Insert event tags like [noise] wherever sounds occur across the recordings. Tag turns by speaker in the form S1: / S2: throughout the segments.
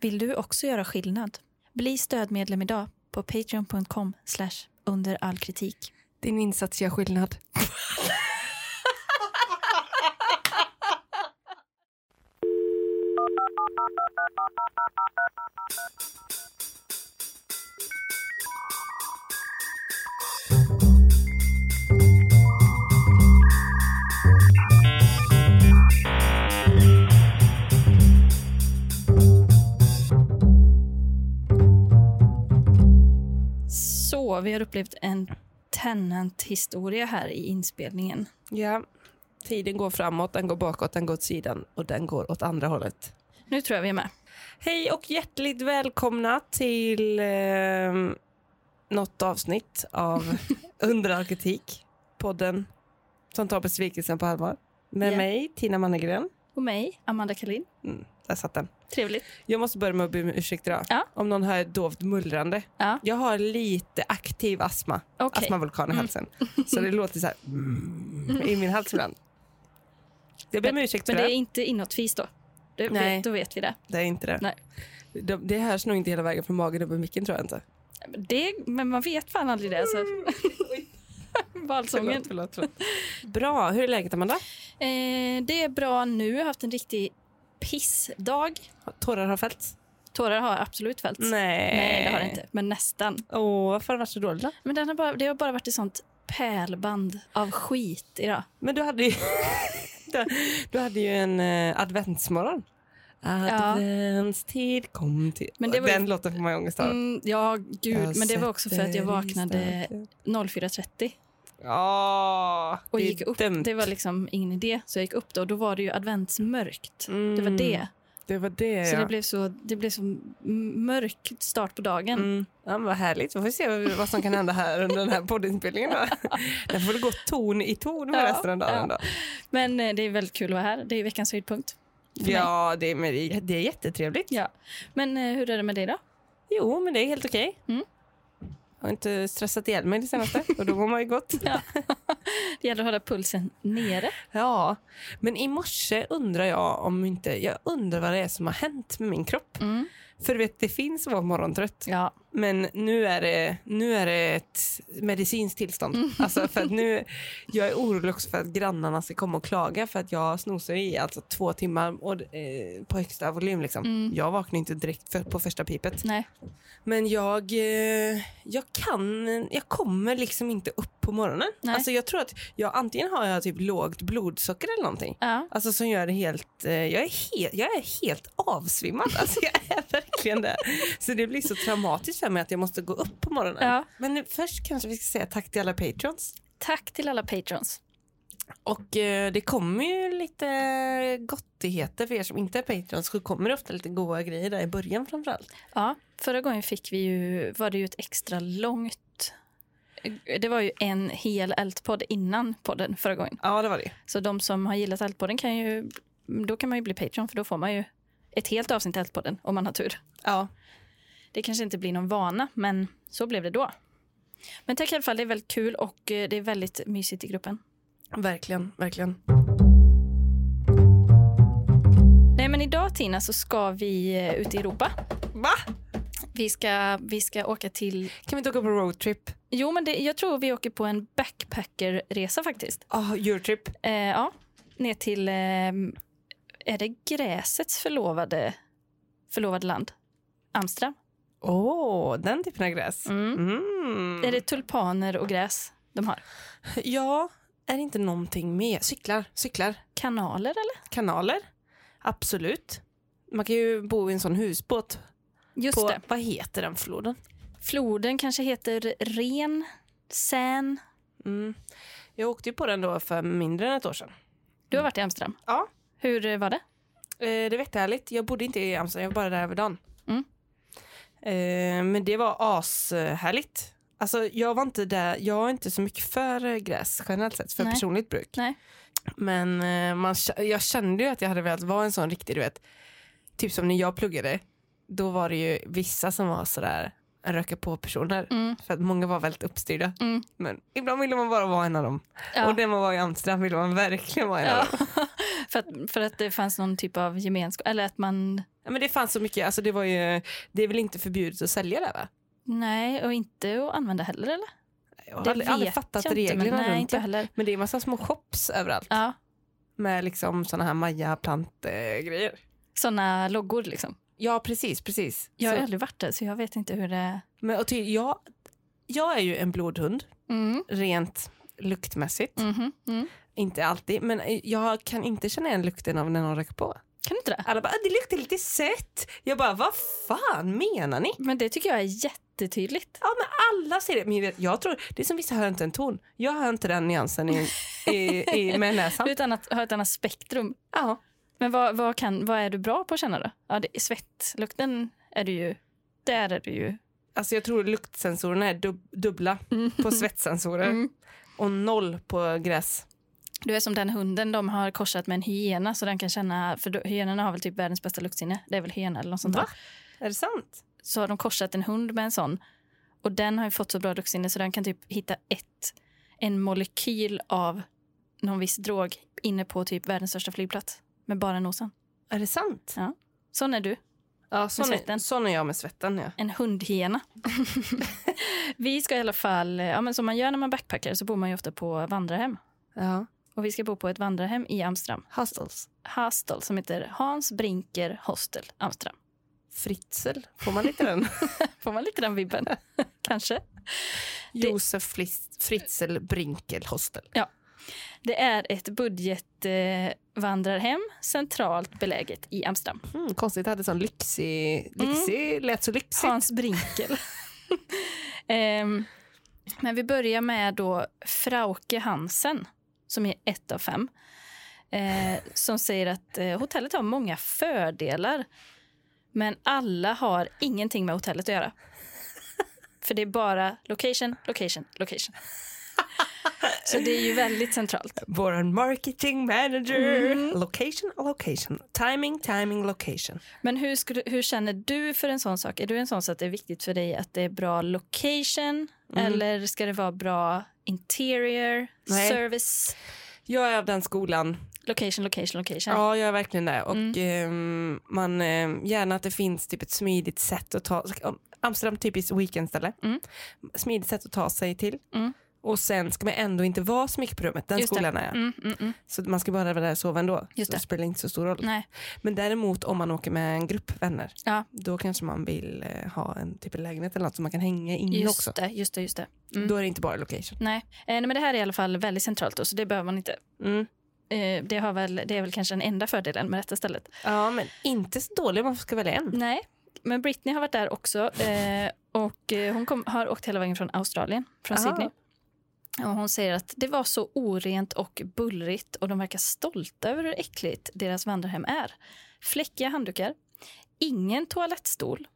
S1: Vill du också göra skillnad? Bli stödmedlem idag på patreon.com under all kritik.
S2: Din insats gör skillnad.
S1: Så, vi har upplevt en Tenant-historia här i inspelningen.
S3: Ja. Tiden går framåt, den går bakåt, den går åt sidan och den går åt andra hållet.
S1: Nu tror jag vi är med.
S3: Hej och hjärtligt välkomna till eh, något avsnitt
S2: [laughs]
S3: av Under all kritik, podden som tar besvikelsen på allvar. Med
S1: Ja.
S3: mig, Tina Mannegren.
S1: Och mig, Amanda Kalin.
S3: Mm, där satt den.
S1: Trevligt.
S3: Jag måste börja med att be om ursäkt idag.
S1: Ja.
S3: Om någon hör dovt mullrande.
S1: Ja.
S3: Jag har lite aktiv astma,
S1: Okej. Mm.
S3: astmavulkan i halsen. Så det låter så här mm, i min hals ibland. Jag ber om ursäkt
S1: Men
S3: för
S1: det
S3: det.
S1: är inte inåtfis då? Det
S3: Nej.
S1: vet, då vet vi det.
S3: Det är inte det.
S1: Nej.
S3: Det, det hörs nog inte hela vägen från magen upp i micken tror
S1: [laughs]
S3: jag inte.
S1: det. Men man vet fan aldrig det.
S3: [laughs]
S1: Alltså. Valsången.
S3: Förlåt, förlåt, förlåt. Bra, hur är läget Amanda?
S1: Eh, det är bra nu. Jag har haft en riktig pissdag.
S3: Tårar har fällts?
S1: Tårar har absolut fällts.
S3: Nej.
S1: Nej, det har det inte. Men nästan.
S3: Åh, varför har det varit så dåligt då?
S1: Men den har bara, det har bara varit ett sånt pärlband av skit idag.
S3: Men du hade ju, [laughs] du, du hade ju en eh, adventsmorgon. Adventstid kom till...
S1: Men det var ju-
S3: Den låten får man ju ångest av.
S1: Mm, ja, gud.
S3: Jag
S1: men det var också för att jag
S3: sätter i
S1: vaknade
S3: starten.
S1: 04.30
S3: Ja,
S1: och
S3: det är
S1: gick upp.
S3: dumt.
S1: Det var liksom ingen idé. Så jag gick upp då och då var det ju adventsmörkt. Det var
S3: Mm,
S1: det.
S3: Det var det,
S1: Så
S3: ja.
S1: det blev så, det blev så m- mörk start på dagen.
S3: Mm. Ja, men vad härligt. Vi får se vad- vad som kan hända här under den här poddinspelningen. Då. [laughs] Den får väl gå ton i ton med
S1: Ja,
S3: resten av dagen.
S1: ja.
S3: Då.
S1: Men eh, det är väldigt kul att vara här. Det är veckans höjdpunkt. för mig.
S3: Ja, det är, men det är- det är jättetrevligt.
S1: Ja. Men eh, hur är det med dig då?
S3: Jo, men det är helt okej.
S1: Mm.
S3: Jag har inte stressat ihjäl mig det senaste och då mår man ju gott.
S1: Det gäller att hålla pulsen nere.
S3: Ja, men i morse undrar jag om inte, jag undrar vad det är som har hänt med min kropp. För du vet, det finns att vara morgontrött.
S1: Ja.
S3: Men nu är det, nu är det ett medicinskt tillstånd.
S1: Mm.
S3: Alltså för
S1: [laughs]
S3: att nu, jag är orolig också för att grannarna ska komma och klaga för att jag snosar i alltså två timmar och, eh, på högsta volym. Liksom.
S1: Mm.
S3: Jag vaknar inte direkt för, på första pipet.
S1: Nej.
S3: Men jag, eh, jag kan, jag kommer liksom inte upp på morgonen.
S1: Nej.
S3: Alltså jag tror att jag antingen har jag typ lågt blodsocker eller någonting.
S1: Ja.
S3: Alltså som gör det helt, eh, jag är, he, jag är helt avsvimmad. Alltså jag är [laughs] verkligen det. Så det blir så traumatiskt för mig att jag måste gå upp på morgonen.
S1: Ja.
S3: Men nu, först kanske vi ska säga tack till alla patrons.
S1: Tack till alla patrons.
S3: Och eh, det kommer ju lite gottigheter för er som inte är patrons. Så kommer det ofta lite goda grejer där i början framförallt.
S1: Ja. Förra gången fick vi ju, var det ju ett extra långt... Det var ju en hel Ältpodd innan podden förra gången.
S3: Ja det var det.
S1: Så de som har gillat Ältpodden kan ju... Då kan man ju bli Patreon för då får man ju ett helt avsnitt Ältpodden om man har tur.
S3: Ja.
S1: Det kanske inte blir någon vana, men så blev det då. Men tack i alla fall, det är väldigt kul och eh, det är väldigt mysigt i gruppen.
S3: Verkligen, verkligen.
S1: Nej, men idag Tina så ska vi eh, ut i Europa.
S3: Va?
S1: Vi ska, vi ska åka till...
S3: Kan vi inte åka på roadtrip?
S1: Jo, men det, jag tror vi åker på en backpackerresa faktiskt.
S3: Ja, Eurotrip.
S1: Eh, ja, ner till... Eh, är det gräsets förlovade, förlovade land? Amsterdam?
S3: Åh, den typen av gräs.
S1: Mm.
S3: Mm.
S1: Är det tulpaner och gräs de har?
S3: Ja, är det inte någonting med? Cyklar, cyklar.
S1: Kanaler eller?
S3: kanaler. Absolut. Man kan ju bo i en sån husbåt
S1: Just
S3: på,
S1: det.
S3: vad heter den floden?
S1: Floden kanske heter Ren, Seine.
S3: Mm. Jag åkte ju på den då för mindre än ett år sedan.
S1: Du har varit i Amsterdam.
S3: Ja.
S1: Hur eh, var det?
S3: Eh, det vet jag ärligt, jag bodde inte i Amsterdam, jag var bara där över dagen.
S1: Mm.
S3: Eh, men det var ashärligt. Alltså jag var inte där, jag är inte så mycket för eh, gräs generellt sett, för
S1: Nej.
S3: personligt bruk.
S1: Nej.
S3: Men eh, man, k- jag kände ju att jag hade velat vara en sån riktig, du vet, typ som när jag pluggade, då var det ju vissa som var sådär röka på personer.
S1: Mm.
S3: För att många var väldigt uppstyrda.
S1: Mm.
S3: Men ibland ville man bara vara en av dem.
S1: Ja.
S3: Och när man var i Amsterdam ville man verkligen vara en
S1: Ja. [laughs]
S3: av dem.
S1: För att, för att det fanns någon typ av gemenskap. Eller att man...
S3: Ja, men det fanns så mycket, alltså det var ju, det är väl inte förbjudet att sälja där va?
S1: Nej, och inte att använda heller eller?
S3: Jag har aldrig, aldrig fattat reglerna
S1: men, nej,
S3: runt
S1: inte jag
S3: det.
S1: heller.
S3: Men det är massa små shops överallt
S1: Ja,
S3: med liksom såna här Maja-plantgrejer.
S1: sådana loggor liksom.
S3: Ja, precis, precis.
S1: Jag har
S3: Så-
S1: aldrig varit där så jag vet inte hur det är.
S3: Men, och till, jag, jag är ju en blodhund,
S1: Mm.
S3: rent luktmässigt.
S1: mhm, mm.
S3: Inte alltid, men jag kan inte känna igen lukten av när någon röker på.
S1: Kan du inte det?
S3: Alla bara, "Ah, det luktar lite sött. Jag bara, vad fan menar ni?
S1: Men det tycker jag är jättetydligt.
S3: Ja, men alla säger det. Men jag, vet, jag tror, det är som vissa hör inte en ton. Jag hör inte den nyansen i, i, i, med
S1: Du
S3: näsan.
S1: har ett annat, har ett annat spektrum.
S3: Ja.
S1: Men vad, vad, kan, vad är du bra på att känna då? Ja, det, svettlukten är du ju... Där är du ju...
S3: Alltså jag tror luktsensorerna är dub, dubbla på svettsensorer
S1: Mm.
S3: och noll på gräs.
S1: Du är som den hunden de har korsat med en hyena så den kan känna, för då- hyenorna har väl typ världens bästa luktsinne. Det är väl hyena eller något sånt där.
S3: Va? Är det sant?
S1: Så har de korsat en hund med en sån och den har ju fått så bra luktsinne så den kan typ hitta ett, en molekyl av någon viss drog inne på typ världens största flygplats med bara nosen.
S3: Är det sant?
S1: Sån är du,
S3: Ja, sån, är,
S1: svetten.
S3: sån är jag med svetten. Ja.
S1: en hundhyena. [laughs] vi ska i alla fall, ja men som man gör när man backpackar så bor man ju ofta på vandrarhem.
S3: ja.
S1: Och vi ska bo på ett vandrarhem i Amsterdam.
S3: Hostels.
S1: Hostel som heter Hans Brinker Hostel Amsterdam.
S3: Fritzl, får man lite [laughs] den?
S1: Får man lite den [laughs] vibben? Kanske.
S3: Josef Flis- Fritzl Brinkel Hostel.
S1: Det är ett budgetvandrarhem eh, vandrarhem, centralt beläget i Amsterdam.
S3: Mm, konstigt, det hade sån lyxig... lyxig Lät så lyxigt.
S1: Hans Brinkel. [laughs] Ehm, men vi börjar med då Frauke Hansen, som är ett av fem. Eh, som säger att eh, hotellet har många fördelar men alla har ingenting med hotellet att göra. För det är bara location, location, location. Så det är ju väldigt centralt.
S3: Vår marketing manager. Location, location. Timing, timing, location.
S1: Men hur, skulle, hur känner du för en sån sak? Är du en sån så att det är viktigt för dig att det är bra location
S3: Mm.
S1: eller ska det vara bra interior,
S3: Nej.
S1: service?
S3: Jag är av den skolan.
S1: Location, location, location.
S3: Ja, jag är verkligen det. Och
S1: Mm.
S3: ehm, man, ehm, gärna att det finns typ ett smidigt sätt att ta... Amsterdam typiskt weekendställe.
S1: Mm.
S3: Smidigt sätt att ta sig till.
S1: Mm.
S3: Och sen ska man ändå inte vara så mycket på rummet. Den
S1: Just det.
S3: skolan är jag.
S1: Mm, mm, mm.
S3: Så man ska bara vara där och sova ändå.
S1: Just
S3: så det
S1: det.
S3: spelar inte så stor roll.
S1: Nej.
S3: Men däremot om man åker med en grupp vänner,
S1: Ja.
S3: då kanske man vill eh, ha en typ av lägenhet eller något som man kan hänga inne Mm, också.
S1: Just det, just det, just det. Mm.
S3: Då är det inte bara location.
S1: Nej. Eh, nej, men det här är i alla fall väldigt centralt då, så det behöver man inte.
S3: Mm.
S1: Eh, det, har väl, det är väl kanske den enda fördelen med detta stället.
S3: Ja, men inte så dålig om man ska välja en.
S1: Nej, men Britney har varit där också. Eh, och eh, Hon kom, har åkt hela vägen från Australien, från
S3: Aha.
S1: Sydney. Och hon säger att det var så orent och bullrigt och de verkar stolta över hur äckligt deras vandrarhem är. Fläckiga handdukar, ingen toalettstol,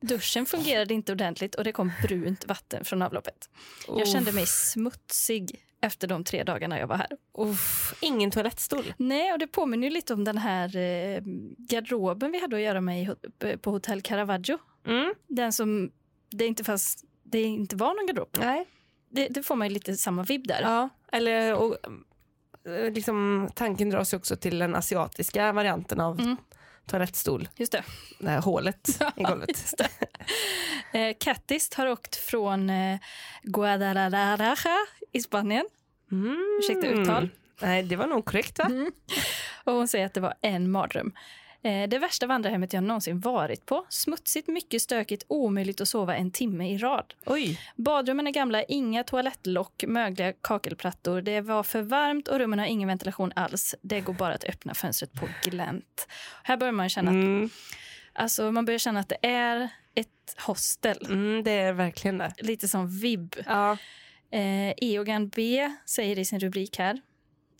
S1: duschen fungerade inte ordentligt och det kom brunt vatten från avloppet. Jag kände mig smutsig efter de tre dagarna jag var här.
S3: Uff, ingen toalettstol.
S1: Nej, och det påminner ju lite om den här eh, garderoben vi hade att göra med i, ho- på Hotell Caravaggio
S3: Mm.
S1: den som det inte fanns det inte var någon garderob.
S3: Nej.
S1: Det, det får man ju lite samma vibb där.
S3: Ja, eller och, eh, liksom, tanken dras ju också till den asiatiska varianten av
S1: Mm.
S3: toalettstol.
S1: Just det.
S3: Det här hålet [laughs]
S1: [laughs]
S3: i golvet.
S1: Just det. Eh, Kattist har åkt från eh, Guadalajara i Spanien.
S3: Mm.
S1: Ursäkta uttal. Mm.
S3: Nej, det var nog korrekt va?
S1: Och hon säger att det var en mardröm. Eh, det värsta vandrarhemmet jag någonsin varit på. Smutsigt, mycket stökigt, omöjligt att sova en timme i rad.
S3: Oj.
S1: Badrummen är gamla, inga toalettlock, mögliga kakelplattor. Det var för varmt och rummen har ingen ventilation alls. Det går bara att öppna fönstret på glänt. Här börjar man känna att
S3: Mm.
S1: Alltså man börjar känna att det är ett hostel.
S3: Mm, det är verkligen det.
S1: Lite som vibb.
S3: Ja.
S1: Eh, Eogan B säger i sin rubrik här.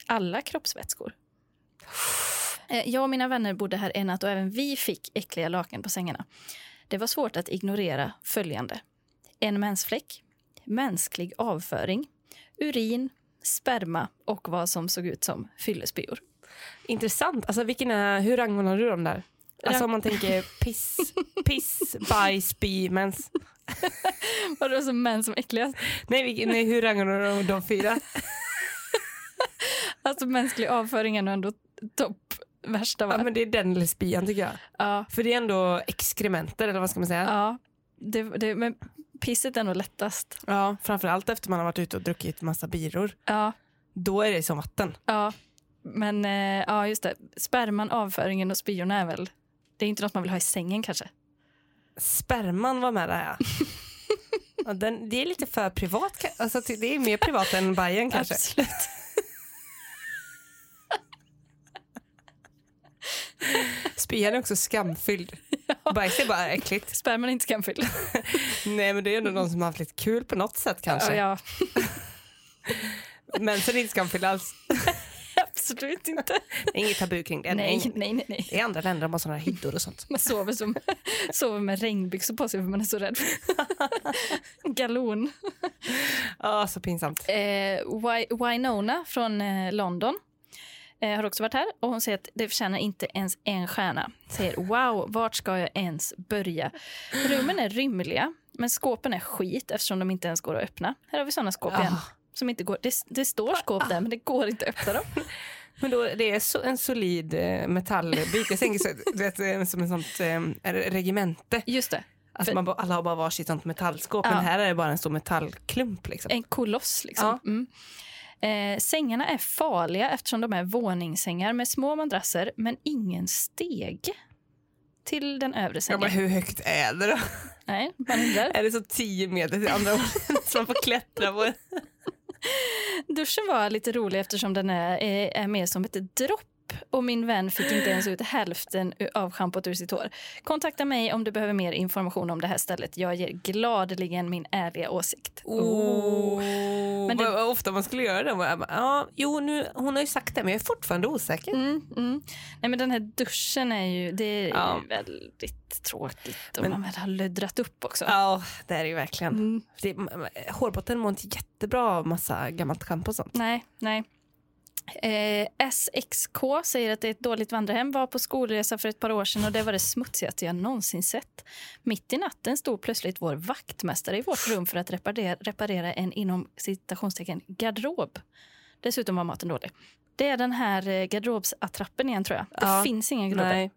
S1: Alla kroppsvätskor. Eh, jag och mina vänner bodde här en natt och även vi fick äckliga lakan på sängarna. Det var svårt att ignorera följande. En mensfläck, mänsklig avföring, urin, sperma och vad som såg ut som [laughs] fyllespior.
S3: Intressant. Alltså, vilken är, hur rangordnar du dem där? Alltså om man tänker piss, piss bajs, bi, mens.
S1: Var det som alltså män som äckligast?
S3: Nej, vilken, nej, hur rangordnar du de, de fyra?
S1: Alltså mänsklig avföring är nog ändå topp värsta av
S3: Ja,
S1: allt.
S3: men det är den lesbian tycker jag.
S1: Ja,
S3: För det är ändå exkrementer eller vad ska man säga?
S1: ja. Det, det, men pisset är nog lättast.
S3: Ja, framförallt efter man har varit ute och druckit massa biror.
S1: Ja,
S3: Då är det som vatten.
S1: ja. Men eh, ja, just det. Sperman, avföringen och spyorna är väl... Det är inte något man vill ha i sängen kanske.
S3: Sperman var med där ja.
S1: [laughs]
S3: ja den, det är lite för privat. ka- Alltså, ty- det är mer privat än Bajen kanske.
S1: Absolut.
S3: Spyan är
S1: [laughs]
S3: också skamfylld. Bajs är bara äckligt.
S1: Sperman är inte skamfylld.
S3: Nej men det är ändå någon som har haft lite kul på något sätt kanske.
S1: Ja,
S3: Men så är det inte skamfylld alls.
S1: absolut inte.
S3: Det är inget tabu kring det.
S1: Nej,
S3: Det är-
S1: nej, nej. nej.
S3: I andra länder har man sådana här hyddor och sånt.
S1: Man sover, som, sover med regnbyxor på sig för man är så
S3: [laughs]
S1: rädd. Galon.
S3: Ja, så pinsamt.
S1: Eh, Wi- Winona från eh, London eh, har också varit här och hon säger att det förtjänar inte ens en stjärna. Säger wow, vart ska jag ens börja? Rummen är rymliga, men skåpen är skit eftersom de inte ens går att öppna. Här har vi sådana skåp igen.
S3: Ah.
S1: Som inte går, det, det står skåp där, men det går inte att öppna dem.
S3: Men då, det är så, en solid eh, metallbit. Jag tänker så, du vet, eh, som ett sånt eh, regemente.
S1: Just det,
S3: Alltså man, bara- alla har bara varsitt sånt metallskåp.
S1: Ja.
S3: Men här är det bara en stor metallklump. Liksom.
S1: en koloss liksom. Mm. Eh, sängarna är farliga eftersom de är våningssängar med små madrasser men ingen steg till den övre
S3: Ja,
S1: sängen.
S3: men hur högt är det då?
S1: Nej, man undrar.
S3: [laughs] Är det så 10 meter till andra hållet [laughs] som man får klättra på?
S1: Duschen var lite rolig eftersom den är, är, är mer som ett dropp och min vän fick inte ens ut hälften u- av schampot ur sitt hår. Kontakta mig om du behöver mer information om det här stället. Jag ger gladeligen min ärliga åsikt.
S3: Oh.
S1: Men
S3: Men
S1: det-
S3: Vad ofta man skulle göra det. Och jag bara, Ja, jo, nu, hon har ju sagt det men jag är fortfarande osäker.
S1: Mm, mm. Nej, men den här duschen är ju, det är
S3: Ja.
S1: ju väldigt tråkigt och
S3: Men-
S1: man väl har löddrat upp också.
S3: Ja, det är det ju verkligen.
S1: Mm.
S3: Det, m- m- hårbotten mår inte jättebra av massa gammalt schampo och sånt.
S1: Nej, nej. Eh, SXK säger att det är ett dåligt vandrarhem. Var på skolresa för ett par år sedan och det var det smutsigaste jag någonsin sett. Mitt i natten stod plötsligt vår vaktmästare i vårt rum för att reparera, reparera en inom citationstecken garderob. Dessutom var maten dålig. Det är den här eh, garderobsattrappen igen tror jag. Det
S3: Ja,
S1: finns inga garderober.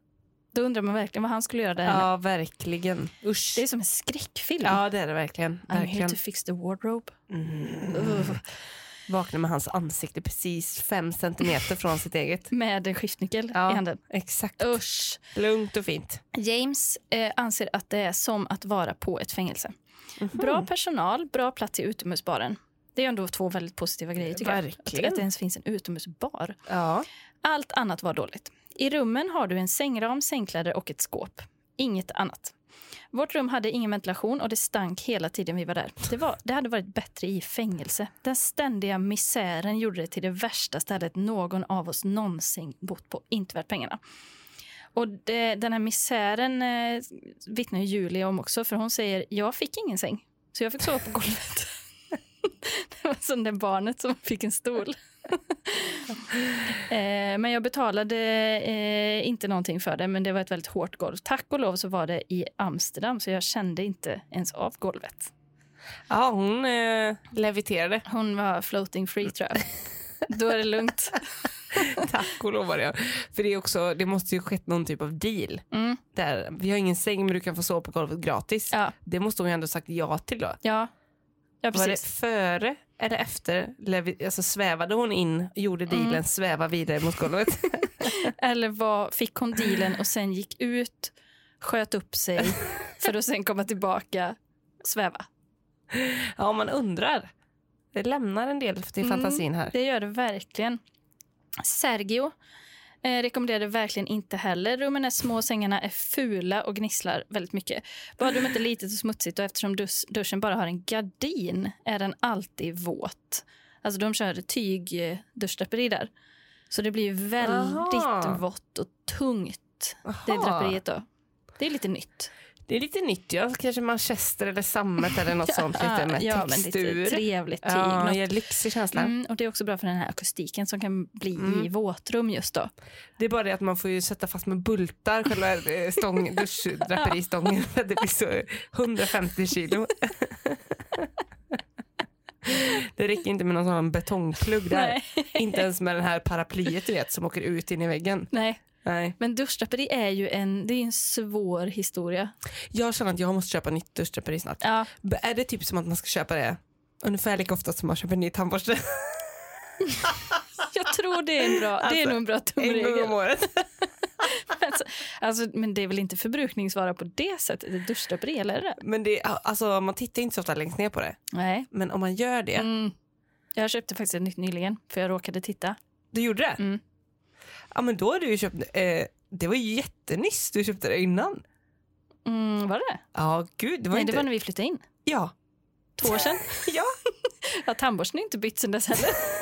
S1: Då undrar man verkligen vad han skulle göra där inne.
S3: Ja, verkligen. Usch.
S1: Det är som en skräckfilm.
S3: Ja, det är det verkligen.
S1: I'm here
S3: verkligen.
S1: to fix the wardrobe.
S3: Mm. Vaknar med hans ansikte precis fem centimeter från sitt eget. Oh.
S1: Med en skiftnyckel
S3: Ja.
S1: i handen.
S3: Exakt.
S1: Usch!
S3: Lugnt och fint.
S1: James eh, anser att det är som att vara på ett fängelse. Bra personal, bra plats i utomhusbaren. Det är ändå två väldigt positiva grejer. tycker jag.
S3: Verkligen.
S1: Att, att det ens finns en utomhusbar.
S3: Ja.
S1: Allt annat var dåligt. I rummen har du en sängram, sängkläder och ett skåp. Inget annat. Vårt rum hade ingen ventilation och det stank hela tiden vi var där. Det, var, det hade varit bättre i fängelse. Den ständiga misären gjorde det till det värsta stället någon av oss någonsin bott på. Inte värt pengarna. Och det, den här misären eh, vittnar ju Julia om också, för hon säger jag fick ingen säng, så jag fick sova på golvet. [laughs] det var som det barnet som fick en stol. Eh, men jag betalade eh, inte någonting för det, men det var ett väldigt hårt golv. Tack och lov så var det i Amsterdam, så jag kände inte ens av golvet.
S3: ja, hon eh,
S1: [laughs]
S3: leviterade.
S1: Hon var floating free, tror jag. [laughs] Då är det lugnt.
S3: Tack och lov var det. För det, är också, det måste ju skett någon typ av deal.
S1: Mm,
S3: Där, vi har ingen säng men du kan få sova på golvet gratis.
S1: ja,
S3: Det måste hon ju ändå sagt ja till då.
S1: ja. ja,
S3: Var det
S1: precis.
S3: före eller efter? Levi- Alltså svävade hon in, gjorde dealen,
S1: Mm.
S3: sväva vidare
S1: [laughs]
S3: mot golvet?
S1: Eller vad, fick hon dealen och sen gick ut, sköt upp [laughs] sig för att sen komma tillbaka och sväva?
S3: ja, man undrar. Det lämnar en del till
S1: Mm.
S3: fantasin här.
S1: Det gör det verkligen. Sergio eh, rekommenderade verkligen inte heller. Rummen är små, sängarna är fula och gnisslar väldigt mycket. Badrummet är litet och smutsigt och eftersom dus- duschen bara har en gardin är den alltid våt. Alltså de kör tygduschdraperi där. Så det blir ju väldigt
S3: Aha.
S1: vått och tungt, det
S3: Aha.
S1: draperiet då. Det är lite nytt.
S3: Det är lite nytt, ja. kanske manchester eller sammet eller något sånt lite
S1: [laughs]
S3: med
S1: ja, men
S3: textur.
S1: lite trevligt tyg.
S3: ja,
S1: något.
S3: det ger lyxig känsla.
S1: Mm, och det är också bra för den här akustiken som kan bli i
S3: Mm.
S1: våtrum just då.
S3: Det är bara det att man får ju sätta fast med bultar själva
S1: [laughs]
S3: eh, stång, duschdraperistången för att det blir så
S1: [laughs]
S3: 150 kilo. Det räcker inte med någon sån här betongplugg där.
S1: Nej. [laughs]
S3: Inte ens med den här paraplyet du vet som åker ut in i väggen.
S1: Nej,
S3: Nej.
S1: Men duschdraperi är ju en, det är en svår historia.
S3: Jag känner att jag måste köpa nytt duschdraperi snart.
S1: Ja,
S3: B- Är det typ som att man ska köpa det ungefär lika ofta som man köper en ny tandborste?
S1: [laughs] jag tror det är en bra, det är
S3: Alltså,
S1: nog en bra
S3: en gång om
S1: tumregel.
S3: året.
S1: Alltså, alltså, men det är väl inte förbrukningsvara på det sättet? Ett duschdraperi, eller? är det?
S3: Men det, alltså, man tittar inte så ofta längst ner på det.
S1: Nej.
S3: Men om man gör det.
S1: Mm. Jag köpte faktiskt ett nytt nyligen, för jag råkade titta.
S3: Du gjorde det?
S1: Mm.
S3: Ja men då har du ju köpt, eh, det var ju jättenyss du köpte det innan.
S1: Mm, var det
S3: Ja gud, det var
S1: Nej,
S3: inte...
S1: det var när vi flyttade in.
S3: Ja.
S1: Två år sedan.
S3: [laughs] Ja.
S1: [laughs] ja, tandborsten är inte bytt sedan dess heller. [laughs]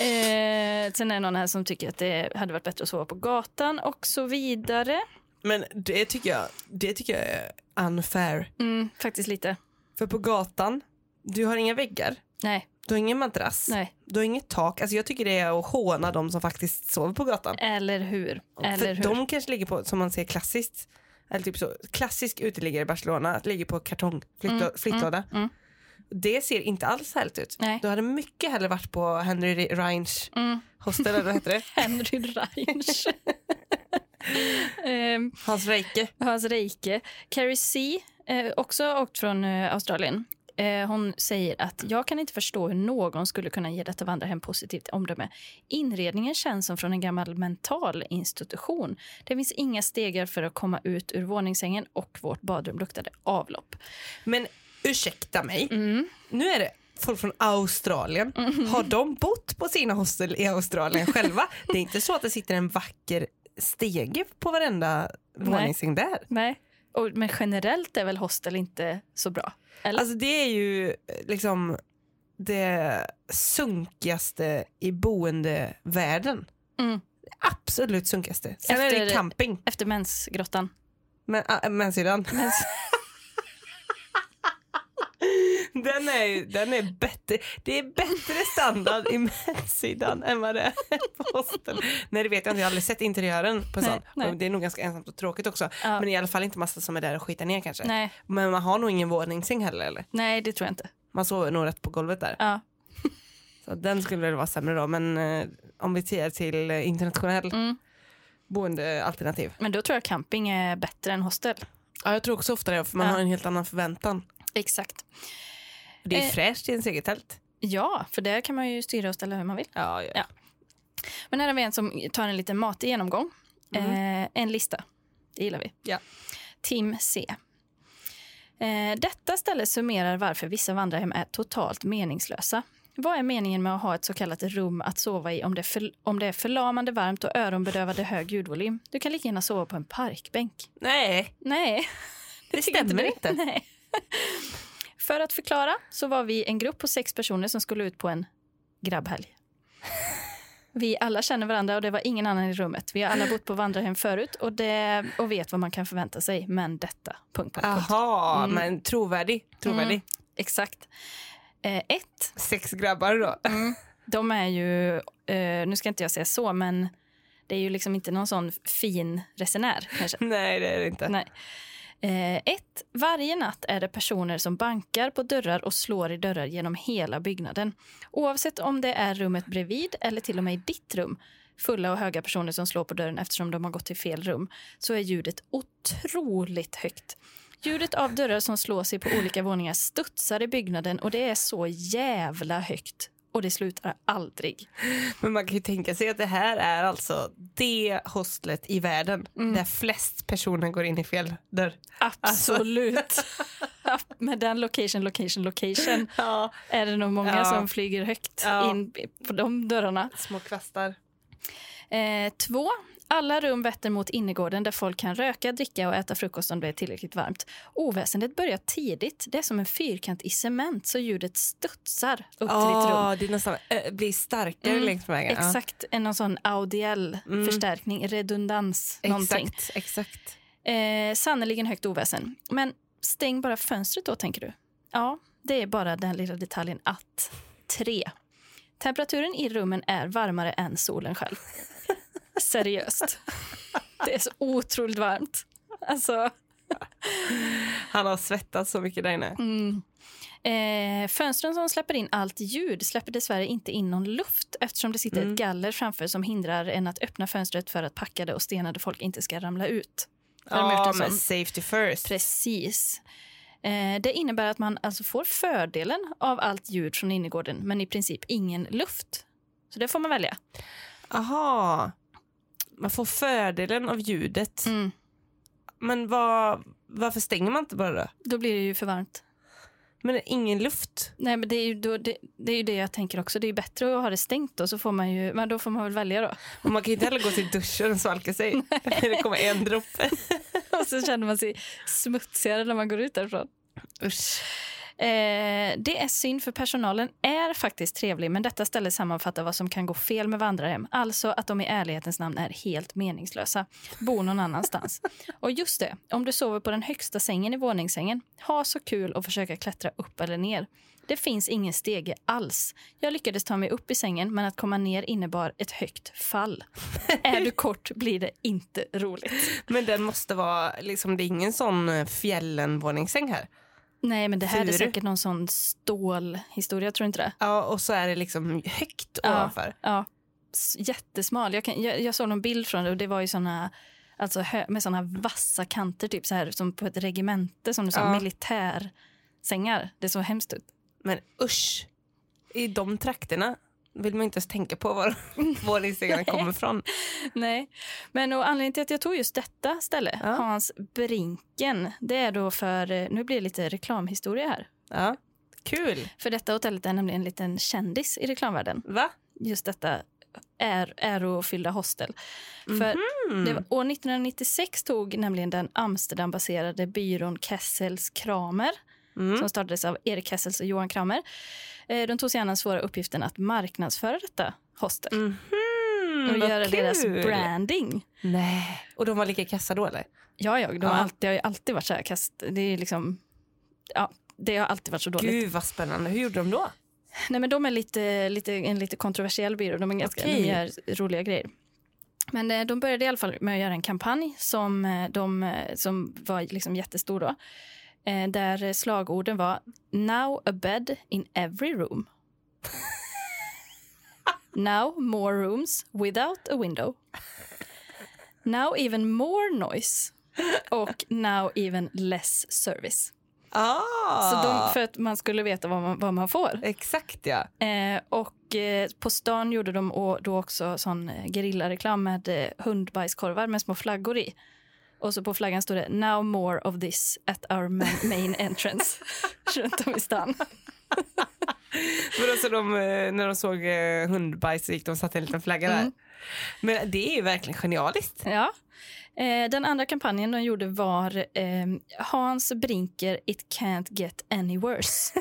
S1: Eh, sen är det någon här som tycker att det hade varit bättre att sova på gatan och så vidare.
S3: Men det tycker jag, det tycker jag är unfair.
S1: Mm, faktiskt lite.
S3: För på gatan, du har inga väggar,
S1: Nej,
S3: du har ingen madrass,
S1: nej.
S3: du har inget tak. Alltså jag tycker det är att håna de som faktiskt sover på gatan.
S1: Eller hur? Eller
S3: För
S1: hur?
S3: de kanske ligger på, som man ser klassiskt, eller typ så, klassisk uteliggare i Barcelona, att ligger på kartong, flytt,
S1: Mm,
S3: flyttlåda.
S1: mm.
S3: Det ser inte alls härligt ut.
S1: Nej.
S3: Du hade mycket hellre varit på Henry Reinch
S1: Mm.
S3: hostel, eller
S1: [laughs]
S3: vad heter det?
S1: [laughs] Henry Reinsch. eh,
S3: Hans Reike.
S1: Hans Reike. Carrie C, eh, också åkt från eh, Australien. Eh, hon säger att jag kan inte förstå hur någon skulle kunna ge detta vandrarhem positivt omdöme. Inredningen känns som från en gammal mental institution. Det finns inga stegar för att komma ut ur våningssängen och vårt badrum luktade avlopp.
S3: Men ursäkta mig,
S1: Mm.
S3: nu är det folk från Australien. Har de bott på sina hostel i Australien
S1: [laughs]
S3: själva? Det är inte så att det sitter en vacker stege på varenda våningssäng där.
S1: Nej. Och, men generellt är väl hostel inte så bra? Eller?
S3: Alltså det är ju eh, liksom det sunkigaste i boendevärlden.
S1: Mm.
S3: Absolut sunkigaste. Sen är det
S1: Efter-
S3: camping.
S1: Efter mensgrottan.
S3: Men, ah, men sedan. [laughs] den, är, ju- den är bättre. Det är bättre standard i [laughs] mässidan än vad det är på hostel. Nej det vet jag inte, jag har aldrig sett interiören på en
S1: Nej,
S3: sån.
S1: nej.
S3: Och Det är nog ganska ensamt och tråkigt också.
S1: Ja.
S3: Men i alla fall inte massa som är där och skitar ner kanske.
S1: Nej,
S3: Men man har nog ingen våningssäng heller eller?
S1: nej, det tror jag inte.
S3: Man sover nog rätt på golvet där.
S1: Ja.
S3: Så den skulle väl vara sämre då, men eh, om vi ser till eh, internationell
S1: Mm.
S3: boendealternativ.
S1: Men då tror jag camping är bättre än hostel.
S3: Ja, jag tror också ofta det, för man
S1: Ja.
S3: har en helt annan förväntan.
S1: Exakt.
S3: Det är
S1: Eh.
S3: fräscht i ens eget tält.
S1: Ja, för där kan man ju styra och ställa hur man vill.
S3: Ja, ja.
S1: Ja. Men här har vi en som tar en liten matig genomgång. Eh, en lista. Det gillar vi.
S3: Ja.
S1: Tim C. Eh, detta ställe summerar varför vissa vandrarhem är totalt meningslösa. Vad är meningen med att ha ett så kallat rum att sova i om det, är för, om det är förlamande varmt och öronbedövande hög ljudvolym? Du kan lika gärna sova på en parkbänk.
S3: Nej,
S1: Nej.
S3: det
S1: tycker
S3: stämmer
S1: du?
S3: inte.
S1: Nej. För att förklara så var vi en grupp på sex personer som skulle ut på en grabbhelg. Vi alla känner varandra och det var ingen annan i rummet. Vi har alla bott på vandrarhem förut och, det, och vet vad man kan förvänta sig. Men detta... Punkt, punkt,
S3: Ah.
S1: punkt.
S3: Jaha, men trovärdig. trovärdig.
S1: Exakt. Eh, ett,
S3: Sex grabbar då. [laughs]
S1: de är ju... Eh, nu ska inte jag säga så, men det är ju liksom inte någon sån fin resenär kanske.
S3: Nej, det är det inte.
S1: Nej. Eh, ett, varje natt är det personer som bankar på dörrar och slår i dörrar genom hela byggnaden. Oavsett om det är rummet bredvid eller till och med i ditt rum fulla och höga personer som slår på dörren eftersom de har gått till fel rum, så är ljudet otroligt högt. Ljudet av dörrar som slår sig på olika våningar studsar i byggnaden och det är så jävla högt. Och det slutar aldrig.
S3: Men man kan ju tänka sig att det här är alltså det hostlet i världen där flest personer går in i fel dörr. Alltså.
S1: Absolut. [laughs] Med den location, location, location.
S3: [laughs] Ja,
S1: är det nog många
S3: Ja.
S1: som flyger högt
S3: Ja.
S1: in på de dörrarna.
S3: små kvastar.
S1: Eh, två. Alla rum vetter mot innergården där folk kan röka, dricka och äta frukost om det är tillräckligt varmt. Oväsendet börjar tidigt. Det är som en fyrkant i cement så ljudet studsar upp till ditt rum.
S3: Ja, det är nästan, äh, blir starkare
S1: Mm,
S3: längs med vägen. Ja.
S1: Exakt, en någon sån audiell
S3: Mm.
S1: förstärkning, redundans, någonting.
S3: Exakt, exakt.
S1: Eh, sannerligen högt oväsen. Men stäng bara fönstret då, tänker du. Ja, det är bara den lilla detaljen att. Tre. Temperaturen i rummen är varmare än solen själv. Seriöst. Det är så otroligt varmt. Alltså,
S3: Han har svettats så mycket där inne.
S1: mm. Eh, fönstren som släpper in allt ljud släpper dessvärre inte in någon luft eftersom det sitter
S3: Mm.
S1: ett galler framför som hindrar en att öppna fönstret för att packade och stenade folk inte ska ramla ut. Har de gjort
S3: Ja,
S1: en
S3: men
S1: sån?
S3: safety first.
S1: Precis. Eh, det innebär att man alltså får fördelen av allt ljud från innergården men i princip ingen luft. Så det får man välja.
S3: Aha. Man får fördelen av ljudet.
S1: Mm.
S3: Men vad, varför stänger man inte bara då?
S1: Då blir det ju för varmt.
S3: Men det är ingen luft.
S1: Nej, men det är, ju då, det, det är ju det jag tänker också. Det är ju bättre att ha det stängt då, så får man ju, men då får man väl välja då.
S3: Och man kan inte heller gå till duschen och svalka [laughs] sig. det kommer en droppe.
S1: [laughs] Och så känner man sig smutsigare när man går ut därifrån.
S3: Usch.
S1: Eh, det är synd för personalen är faktiskt trevlig men detta ställe sammanfattar vad som kan gå fel med vandrarhem. Alltså att de i ärlighetens namn är helt meningslösa. Bor någon annanstans. och just det, om du sover på den högsta sängen i våningssängen, ha så kul och försöka klättra upp eller ner. Det finns ingen stege alls. Jag lyckades ta mig upp i sängen men att komma ner innebar ett högt fall. är du kort blir det inte roligt.
S3: Men den måste vara, liksom, det är ingen sån eh, fjällenvåningssäng här.
S1: Nej men det här är
S3: Furu.
S1: säkert någon sån stålhistoria, tror du inte det?
S3: Ja, och så är det liksom högt
S1: Ja.
S3: ovanför.
S1: Ja, s- jättesmal. Jag, kan, jag, jag såg någon bild från det och det var ju såna, alltså hö, med såna vassa kanter, typ så här, som på ett regemente, som du sa,
S3: Ja.
S1: militärsängar. Det såg hemskt ut.
S3: Men usch, i de trakterna vill man inte ens tänka på [laughs] var våningssängarna kommer ifrån.
S1: Nej. Men och anledningen till att jag tog just detta ställe,
S3: Ja.
S1: Hans Brinken, det är då för, eh, nu blir det lite reklamhistoria här.
S3: Ja. Kul!
S1: För detta hotellet är nämligen en liten kändis i reklamvärlden.
S3: Va?
S1: Just detta är, ärofyllda hostel. För
S3: Mhm.
S1: Det var, år 1996 tog nämligen den Amsterdambaserade byrån Kessels Kramer
S3: Mm.
S1: som startades av Erik Kessels och Johan Kramer. Eh, De tog sig an den svåra uppgiften att marknadsföra detta hostel
S3: Mhm,
S1: och
S3: vad
S1: göra deras
S3: kul.
S1: branding.
S3: Nej. Och de var lika kassa då eller?
S1: Ja, jag, de
S3: Ja.
S1: Har alltid, det har ju alltid varit så här kast. Det är liksom... Ja, det har alltid varit så dåligt.
S3: Gud vad spännande, hur gjorde de då?
S1: Nej, men de är lite, lite, en lite kontroversiell byrå. De, är ganska,
S3: Okej.
S1: de gör roliga grejer. Men eh, de började i alla fall med att göra en kampanj som, eh, de, eh, som var liksom jättestor. Då, eh, där eh, slagorden var Now a bed in every
S3: [laughs]
S1: room. Now more rooms without a window. Now even more noise. Och now even less service.
S3: Ah,
S1: Så de, för att man skulle veta vad man, vad man får.
S3: Exakt ja.
S1: Eh, och eh, på stan gjorde de å- då också sån eh, gerillareklam med eh, hundbajskorvar med små flaggor i. Och så på flaggan stod det “Now more of this at our ma- main entrance” runt om i stan.
S3: Men alltså de, eh, när de såg eh, hundbajs så gick de och satte en liten flagga där.
S1: Mm.
S3: Men det är ju verkligen genialiskt.
S1: Ja. Eh, den andra kampanjen de gjorde var eh, “Hans Brinker, it can't get any worse”.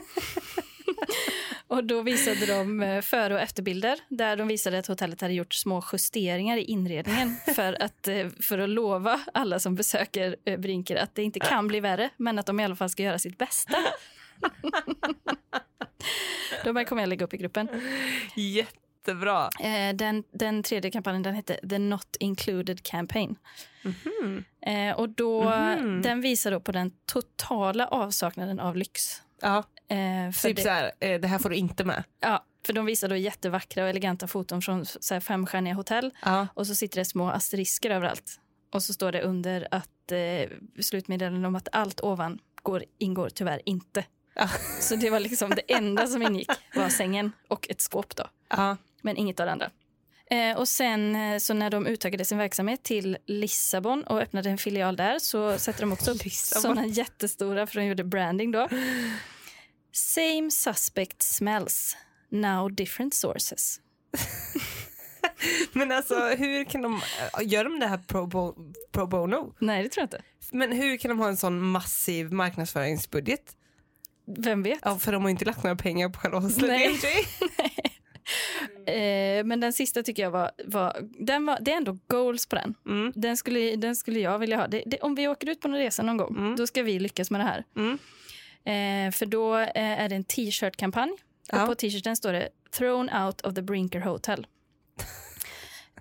S1: [laughs] och då visade de eh, före och efterbilder där de visade att hotellet hade gjort små justeringar i inredningen för att, eh, för att lova alla som besöker eh, Brinker att det inte kan bli värre men att de i alla fall ska göra sitt bästa. [laughs] de här kommer jag lägga upp i gruppen.
S3: Jättebra.
S1: Eh, den, den tredje kampanjen den hette The Not Included Campaign. Eh, och då,
S3: Mhm.
S1: Den visar då på den totala avsaknaden av lyx.
S3: Ja,
S1: Eh, för,
S3: typ
S1: det,
S3: så här, eh, det här får du inte med.
S1: ja, för De visar då jättevackra och eleganta foton från så här, femstjärniga hotell
S3: Ja.
S1: och så sitter det små asterisker överallt. Och så står det under att eh, slutmeddelandet om att allt ovan går, ingår tyvärr inte.
S3: Ja.
S1: Så det var liksom det enda som ingick var sängen och ett skåp. då.
S3: Ja.
S1: men inget av det andra. Eh, och sen eh, så när de utökade sin verksamhet till Lissabon och öppnade en filial där så sätter de också upp
S3: Lissabon.
S1: sådana jättestora för de gjorde branding då. Same suspect smells, now different sources.
S3: Men alltså hur kan de, eh, gör de det här pro, bo, pro bono?
S1: Nej, det tror jag inte.
S3: Men hur kan de ha en sån massiv marknadsföringsbudget?
S1: Vem vet?
S3: Ja, för de har ju inte lagt några pengar på själva hostlet.
S1: Nej.
S3: i och för sig.
S1: Eh, men den sista tycker jag var, var, den var, det är ändå goals på den.
S3: Mm.
S1: Den skulle, den skulle jag vilja ha. Det, det, om vi åker ut på en resa någon gång,
S3: Mm.
S1: då ska vi lyckas med det här.
S3: Mm.
S1: Eh, för då eh, är det en t-shirt-kampanj.
S3: Ja.
S1: Och på t-shirten står det “Thrown out of the Brinker
S3: [laughs]
S1: Hotel”.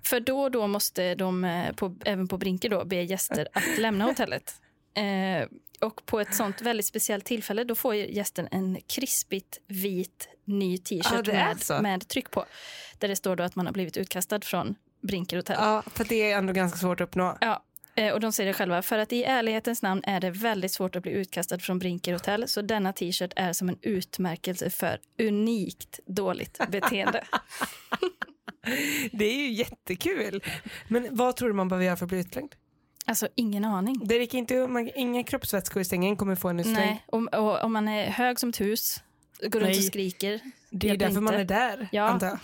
S1: för då och då
S3: [laughs]
S1: måste de, eh, på, även på Brinker, då, be gäster att lämna hotellet. Eh, Och på ett sånt väldigt speciellt tillfälle då får ju gästen en krispigt vit ny
S3: Ja,
S1: t-shirt
S3: det är
S1: med,
S3: så.
S1: med tryck på. Där det står då att man har blivit utkastad från Brinker Hotel.
S3: Ja, för det är ändå ganska svårt att uppnå.
S1: Ja, eh, och de säger det själva. För att i ärlighetens namn är det väldigt svårt att bli utkastad från Brinker Hotel. Så denna t-shirt är som en utmärkelse för unikt
S3: [laughs]
S1: dåligt beteende.
S3: Det är ju jättekul. Men vad tror du man behöver göra för att bli utslängd?
S1: alltså ingen aning.
S3: Det räcker inte, man, inga kroppsvätskor i sängen kommer få en utslängd.
S1: Nej, om, och, om man är hög som ett hus, går runt
S3: Nej.
S1: och skriker.
S3: Det är ju
S1: Hjälper
S3: därför man
S1: inte.
S3: är där,
S1: Ja.
S3: antar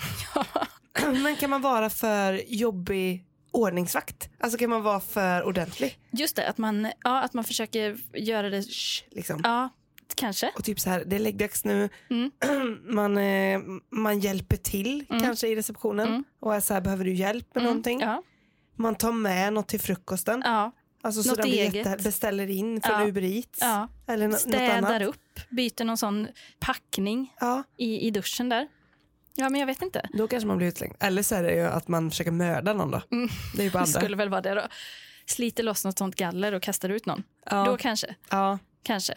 S3: jag.
S1: [laughs]
S3: Men kan man vara för jobbig ordningsvakt? Alltså kan man vara för ordentlig?
S1: Just det, att man, ja, att man försöker göra det...
S3: Liksom.
S1: Ja, kanske.
S3: Och typ så här, det är läggdags nu.
S1: Mm.
S3: [clears throat] Man, eh, man hjälper till
S1: Mm.
S3: kanske i receptionen.
S1: Mm.
S3: Och är så här, behöver du hjälp med
S1: Mm,
S3: någonting?
S1: Ja,
S3: Man tar med något till frukosten.
S1: ja,
S3: Alltså så
S1: Något
S3: de blir
S1: eget.
S3: jätte- beställer in från
S1: Ja.
S3: Uber Eats.
S1: ja.
S3: Eller no- något
S1: Städar
S3: annat.
S1: upp, byter någon sån packning
S3: Ja,
S1: i, i duschen där. Ja, men jag vet inte.
S3: då kanske man blir utslängd. Eller så är det ju att man försöker mörda någon då.
S1: Mm.
S3: Det är ju på
S1: Det
S3: andra.
S1: skulle väl vara det då. Sliter loss något sånt galler och kastar ut någon.
S3: Ja.
S1: Då kanske.
S3: ja.
S1: Kanske.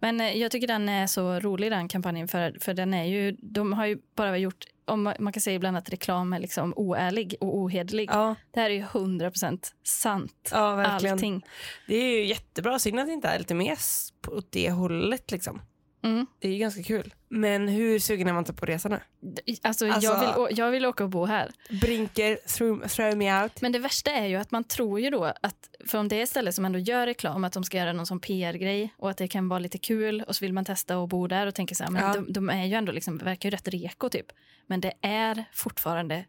S1: Men eh, jag tycker den är så rolig den kampanjen för, för den är ju, de har ju bara gjort, om man, man kan säga ibland att reklam är liksom oärlig och ohederlig.
S3: Ja,
S1: Det här är ju 100% sant.
S3: ja, verkligen.
S1: Allting.
S3: Det är ju jättebra. Synd att det inte är lite mer s- på- åt det hållet. Liksom.
S1: Mm.
S3: Det är ju ganska kul. Men hur sugen är man inte på att resa nu?
S1: D- Alltså,
S3: Alltså-
S1: Jag, vill, å- jag vill åka och bo här.
S3: Brinker, throw, throw me out.
S1: Men det värsta är ju att man tror ju då att, för om det är stället som ändå gör reklam, att de ska göra någon sån PR-grej och att det kan vara lite kul och så vill man testa och bo där och tänker så här, men
S3: Ja.
S1: de, de är ju ändå liksom, verkar ju rätt reko typ. Men det är fortfarande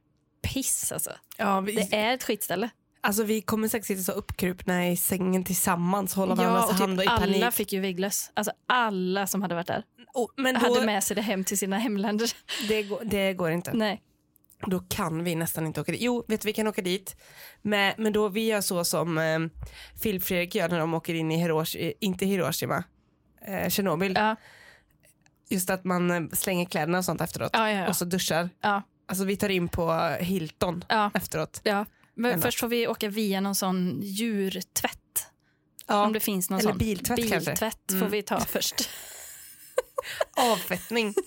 S1: piss alltså.
S3: Ja, vi,
S1: Det är ett skitställe.
S3: alltså, vi kommer säkert sitta så uppkrupna i sängen tillsammans, hålla varandras
S1: och typ
S3: hand och typ i panik.
S1: alla fick ju vägglöss. Alltså alla som hade varit där
S3: Och- men då,
S1: hade med sig det hem till sina hemländer. [laughs]
S3: det, går, det går inte.
S1: Nej.
S3: Då kan vi nästan inte åka dit. Jo, vet du, vi kan åka dit. Men, men då vi gör så som eh, Phil Fredrik gör när de åker in i Hiroshima, inte Hiroshima, eh, Tjernobyl.
S1: Ja,
S3: Just att man eh, slänger kläderna och sånt efteråt.
S1: ja, ja. ja.
S3: Och så duschar.
S1: Ja.
S3: Alltså vi tar in på Hilton
S1: ja,
S3: efteråt.
S1: ja. Men
S3: Ändå.
S1: först får vi åka via någon sån djurtvätt.
S3: Ja.
S1: Om det finns någon
S3: Eller
S1: sån.
S3: biltvätt kanske.
S1: Biltvätt
S3: Mm.
S1: får vi ta
S3: [laughs]
S1: först.
S3: Avfettning.
S1: [laughs]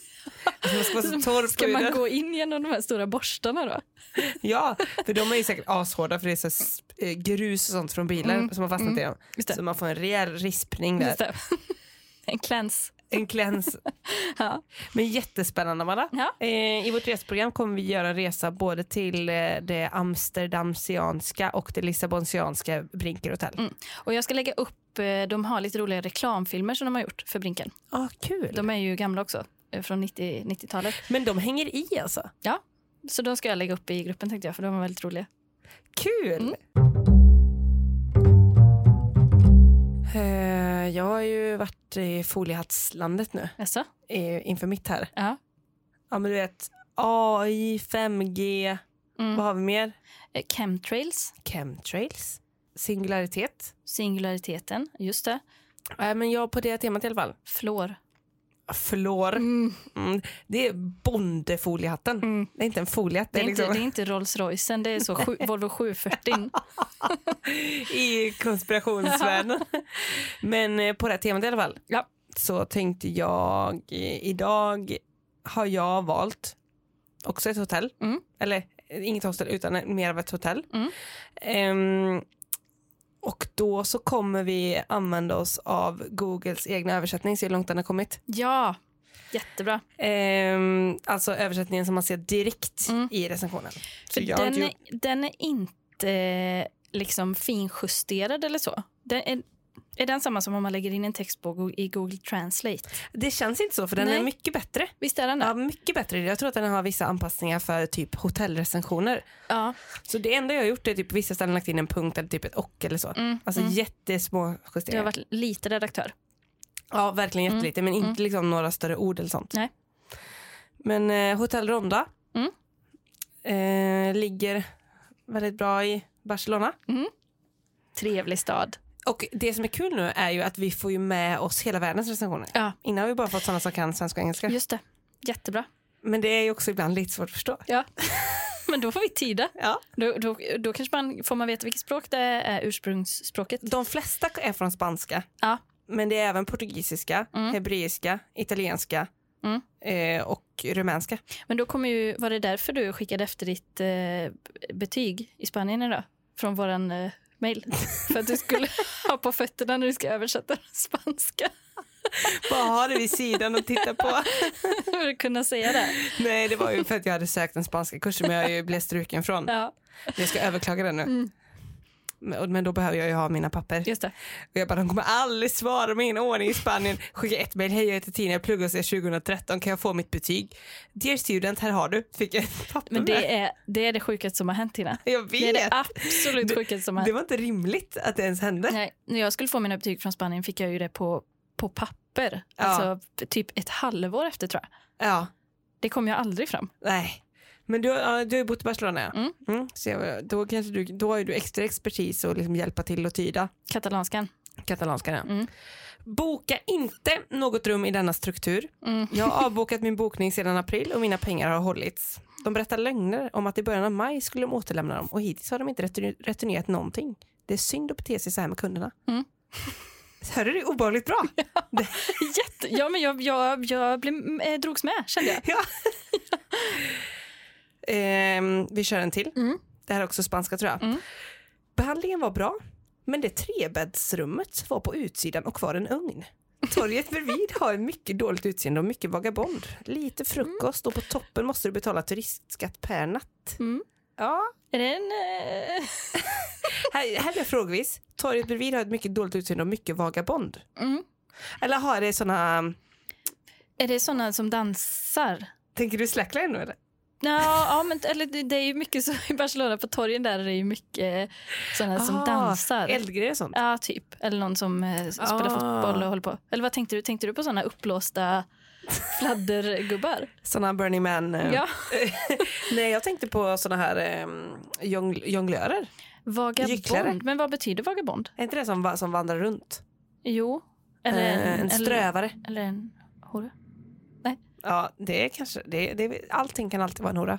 S3: Alltså, Man ska vara så torr på
S1: Ska man
S3: huden.
S1: gå in genom de här stora borstarna då?
S3: Ja, för de är ju säkert ashårda för det är så här s- eh, grus och sånt från bilar
S1: Mm.
S3: som har fastnat i dem.
S1: Just det.
S3: Så man får en rejäl rispning där.
S1: Just det. [laughs] En kläns.
S3: En kläns.
S1: Ja.
S3: Men jättespännande Amanda.
S1: Ja.
S3: Eh, I vårt resprogram kommer vi göra en resa både till eh, det amsterdamsianska och det lissabonsianska Brinker Hotel.
S1: Mm. Och jag ska lägga upp, eh, de har lite roliga reklamfilmer som de har gjort för Brinken.
S3: Ah, kul.
S1: De är ju gamla också, eh, från 90 90-talet.
S3: Men de hänger i alltså.
S1: Så de ska jag lägga upp i gruppen tänkte jag, för de var väldigt roliga.
S3: Kul! Eh, jag har ju varit i foliehattslandet nu
S1: Jaså?
S3: eh, inför mitt här.
S1: Ja.
S3: Ja men du vet AI, 5G,
S1: Mm.
S3: vad har vi mer?
S1: Eh, Chemtrails,
S3: Chemtrails, singularitet.
S1: singulariteten, just det.
S3: Nej men jag på det temat i alla fall.
S1: Flår.
S3: Flår.
S1: Mm.
S3: Mm. Det är bondefoliehatten.
S1: Mm.
S3: Det är inte en foliehatt.
S1: Det, är inte,
S3: liksom
S1: det är inte Rolls Roycen, det är så
S3: [laughs]
S1: sju, Volvo 740.
S3: i konspirationsvärlden. Men eh, på det här temat i alla fall
S1: Ja.
S3: så tänkte jag eh, idag har jag valt också ett hotell.
S1: Mm.
S3: Eller eh, inget hostel utan eh, mer av ett hotell.
S1: Mm.
S3: Ehm, och då så kommer vi använda oss av Googles egna översättning, se hur långt den har kommit.
S1: Ja, jättebra.
S3: Ehm, alltså översättningen som man ser direkt
S1: Mm.
S3: i recensionen. Så
S1: För
S3: jag har
S1: den,
S3: inte
S1: är,
S3: gjort-
S1: den är inte eh, liksom finjusterad eller så. Den är, är den samma som om man lägger in en text på Go- i Google Translate?
S3: det känns inte så för den
S1: Nej.
S3: är mycket bättre.
S1: Visst är den det?
S3: Ja, mycket bättre. Jag tror att den har vissa anpassningar för typ hotellrecensioner.
S1: Ja.
S3: Så det enda jag har gjort är typ på vissa ställen lagt in en punkt eller typ ett och eller så.
S1: Mm,
S3: Alltså
S1: mm.
S3: jättesmå
S1: Du har
S3: justeringar.
S1: varit lite redaktör.
S3: Ja, verkligen jättelite men inte liksom några större ord eller sånt.
S1: Nej.
S3: Men eh, Hotell Ronda
S1: Mm.
S3: eh, ligger väldigt bra i Barcelona.
S1: Trevlig stad.
S3: Och det som är kul nu är ju att vi får ju med oss hela världens recensioner.
S1: Ja.
S3: Innan har vi bara fått sådana som kan svenska och engelska.
S1: Just det. Jättebra.
S3: Men det är ju också ibland lite svårt att förstå.
S1: Ja. Men då får vi tida.
S3: Ja.
S1: Då, då, då kanske man får man veta vilket språk det är ursprungsspråket.
S3: De flesta är från spanska.
S1: Ja.
S3: Men det är även portugisiska,
S1: Mm.
S3: hebreiska, italienska
S1: Mm.
S3: eh, och rumänska. [laughs]
S1: Men då kommer ju, var det därför du skickade efter ditt eh, betyg i Spanien idag? Från våran eh,
S3: [laughs]
S1: mail. För att du skulle ha på fötterna när du ska översätta spanska. [laughs]
S3: Bara ha det vid sidan och titta på.
S1: För att kunna säga det.
S3: Nej, det var ju för att jag hade sökt en spanska kurs som jag ju blev struken från.
S1: Ja,
S3: Jag ska överklaga den nu.
S1: Mm.
S3: Men men då behöver jag ju ha mina papper.
S1: just det.
S3: Och jag bara, de kommer aldrig svara mig i en ordning i Spanien. Skicka ett mejl, hej jag heter Tina, jag pluggar hos er 2013, kan jag få mitt betyg? Dear student, här har du. Fick jag ett papper
S1: Men
S3: med.
S1: det är det, är det sjukaste som har hänt Tina.
S3: Jag vet.
S1: Det är det absolut sjukaste som har
S3: Det
S1: hänt.
S3: var inte rimligt att det ens hände.
S1: Nej, när jag skulle få mina betyg från Spanien fick jag ju det på, på papper.
S3: Ja.
S1: Alltså typ ett halvår efter tror jag.
S3: Ja,
S1: Det kom jag aldrig fram.
S3: nej. Men du, har- ja, du har ju bott i Barcelona. ja.
S1: Mm.
S3: så jag, då, kanske du, då har ju du extra expertis att liksom hjälpa till att tyda [laughs]
S1: Katalanskan.
S3: katalanskan. ja.
S1: Mm.
S3: Boka inte något rum i denna struktur.
S1: Mm.
S3: Jag
S1: [laughs]
S3: har avbokat min bokning sedan april och mina pengar har hållits. De berättar lögner om att i början av maj skulle de återlämna dem och hittills har de inte retur- returnerat någonting. Det är synd att bete sig så här med kunderna.
S1: Mm.
S3: Hörde du? Obehagligt bra.
S1: Jätte, ja, men jag, jag, jag blev, eh, drogs med kände jag.
S3: Ehm, vi kör en till.
S1: Mm.
S3: Det här är också spanska tror jag.
S1: Mm.
S3: Behandlingen var bra, men det trebäddsrummet var på utsidan och var en ugn.
S1: [laughs]
S3: Torget bredvid har ett mycket dåligt utseende och mycket vagabond. Lite frukost och på toppen måste du betala turistskatt per natt.
S1: Mm.
S3: Ja,
S1: Är det en... Eh,
S3: här, här blir jag frågvis. Torget bredvid har ett mycket dåligt utseende och mycket vagabond.
S1: mm.
S3: Eller har det såna...
S1: Är det sådana som dansar?
S3: Tänker du slackline nu eller?
S1: Ja, ja men eller det, det är ju mycket så i Barcelona på torgen där är det ju mycket sådana som
S3: Ah,
S1: dansar.
S3: Eldgrejer och sånt?
S1: Ja, typ. Eller någon som eh, spelar
S3: Ah.
S1: fotboll och håller på. Eller vad tänkte du? Tänkte du på sådana uppblåsta fladdergubbar?
S3: Såna Burning Man...
S1: [laughs]
S3: eh,
S1: Ja.
S3: Nej, jag tänkte på såna här um, jongl- jonglörer.
S1: Vagabond.
S3: Gycklare.
S1: Men vad betyder vagabond?
S3: Är inte det som, va- som vandrar runt?
S1: Jo. Eller
S3: Eh, en
S1: Eller,
S3: strövare.
S1: eller en hora.
S3: Ja, det är kanske... Det, det, allting kan alltid vara en [laughs] hora.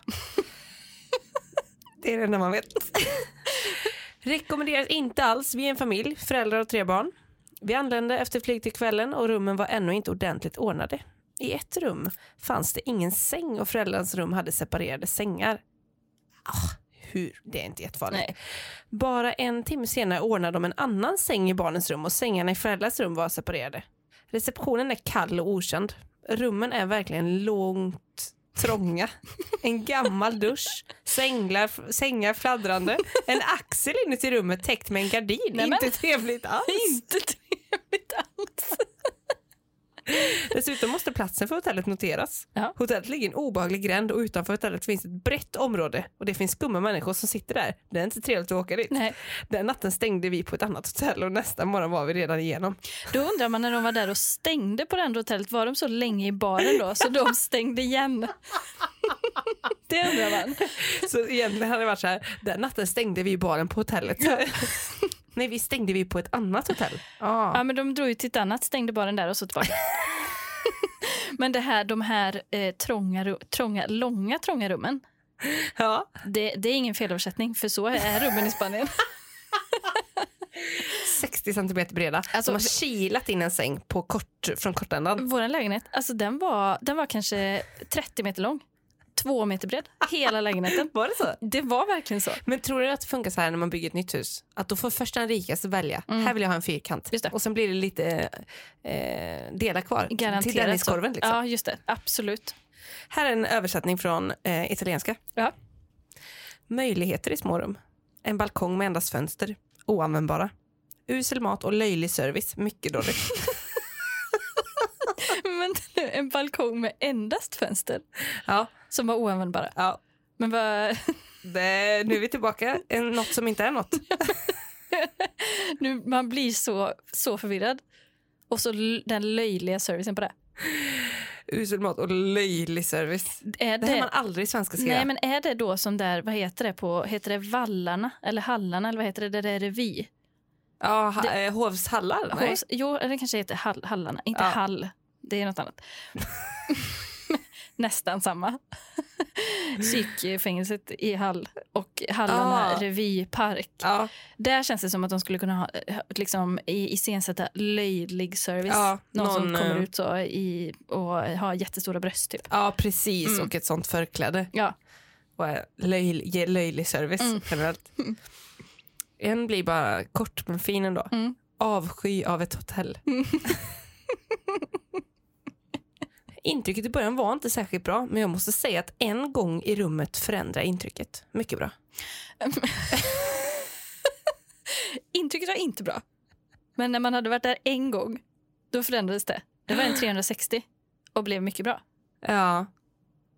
S3: det är det enda man vet. Rekommenderas inte alls. Vi är en familj, föräldrar och tre barn. Vi anlände efter flyg till kvällen och rummen var ännu inte ordentligt ordnade. I ett rum fanns det ingen säng och föräldrarnas rum hade separerade sängar. Ah, hur? Det är inte jättefarligt.
S1: Nej.
S3: Bara en timme senare ordnade de en annan säng i barnens rum och sängarna i föräldrarnas rum var separerade. Receptionen är kall och okänd. Rummen är verkligen långt trånga. En gammal dusch, sänglar, sängar fladdrande, en axel inuti rummet täckt med en gardin.
S1: Nämen.
S3: Inte trevligt alls.
S1: [laughs] Inte trevligt alls.
S3: Dessutom måste platsen för hotellet noteras.
S1: Ja.
S3: Hotellet ligger i en obehaglig gränd och utanför hotellet finns ett brett område och det finns skumma människor som sitter där. Det är inte trevligt att åka dit.
S1: Nej.
S3: Den natten stängde vi på ett annat hotell och nästa morgon var vi redan igenom.
S1: Då undrar man när de var där och stängde på det andra hotellet, var de så länge i baren då så de stängde igen? [laughs] Det undrar man.
S3: Så egentligen hade det varit så här, den natten stängde vi baren på hotellet. [laughs] Nej, vi stängde vi på ett annat hotell.
S1: Ja, men de drog ju till ett annat, stängde baren där och så
S3: [laughs]
S1: tillbaka. Men det här, de här eh, trånga, ru- trånga, långa trånga rummen,
S3: Ja.
S1: det, det är ingen felöversättning för så är rummen i
S3: [laughs]
S1: Spanien.
S3: 60 centimeter breda.
S1: Alltså,
S3: Alltså, de har kilat in en säng på kort, från kortändan.
S1: Vår lägenhet, alltså den var, den var kanske 30 meter lång, två meter bred, hela lägenheten.
S3: Var det så?
S1: Det var verkligen så.
S3: Men tror du att det funkar så här när man bygger ett nytt hus? Att då får först den rikaste välja. Här vill jag ha en fyrkant.
S1: Mm. Just det.
S3: Och sen blir det lite eh, delar kvar.
S1: Garanterat
S3: till Denniskorven
S1: så.
S3: liksom.
S1: Ja, just det. Absolut.
S3: Här är en översättning från eh, italienska.
S1: Ja.
S3: Möjligheter i smårum. En balkong med endast fönster. Oanvändbara. Usel mat och löjlig service. Mycket dåligt.
S1: [laughs] Men nu, en balkong med endast fönster
S3: ja,
S1: som var oanvändbara.
S3: ja.
S1: Men vad, [laughs]
S3: Det, nu är vi tillbaka. En- Något som inte är något.
S1: nu, man blir så, så förvirrad. Och så l- den löjliga servicen på det.
S3: Usel mat och löjlig service.
S1: Är
S3: Det här man
S1: det,
S3: aldrig i svenska ska
S1: nej,
S3: göra.
S1: men är det då som där, vad heter det på, heter det vallarna eller hallarna eller vad heter det, där det är revy?
S3: Ja, ha, eh, hovshallar? Nej. [laughs]
S1: Hos, jo, eller det kanske heter hall, hallarna, inte
S3: Ja.
S1: hall, det är något annat. nästan samma. [laughs] Psykfängelset i Hall och Hallarna
S3: Ah.
S1: revipark.
S3: Ja,
S1: Där känns det som att de skulle kunna ha, liksom, i- iscensätta löjlig service.
S3: Ja,
S1: någon, som
S3: någon,
S1: kommer
S3: eh,
S1: ut så i, och har jättestora bröst. Typ.
S3: ja precis.
S1: Mm.
S3: Och ett sånt förkläde.
S1: Ja.
S3: Och eh, löj, ge löjlig service
S1: Mm. [laughs]
S3: generellt. En blir bara kort men fin ändå.
S1: Mm.
S3: Avsky av ett
S1: [laughs]
S3: hotell. Intrycket i början var inte särskilt bra, men jag måste säga att en gång i rummet förändrar intrycket. Mycket bra.
S1: [laughs] Intrycket var inte bra. Men när man hade varit där en gång, då förändrades det. Det var en 360 och blev mycket bra.
S3: Ja,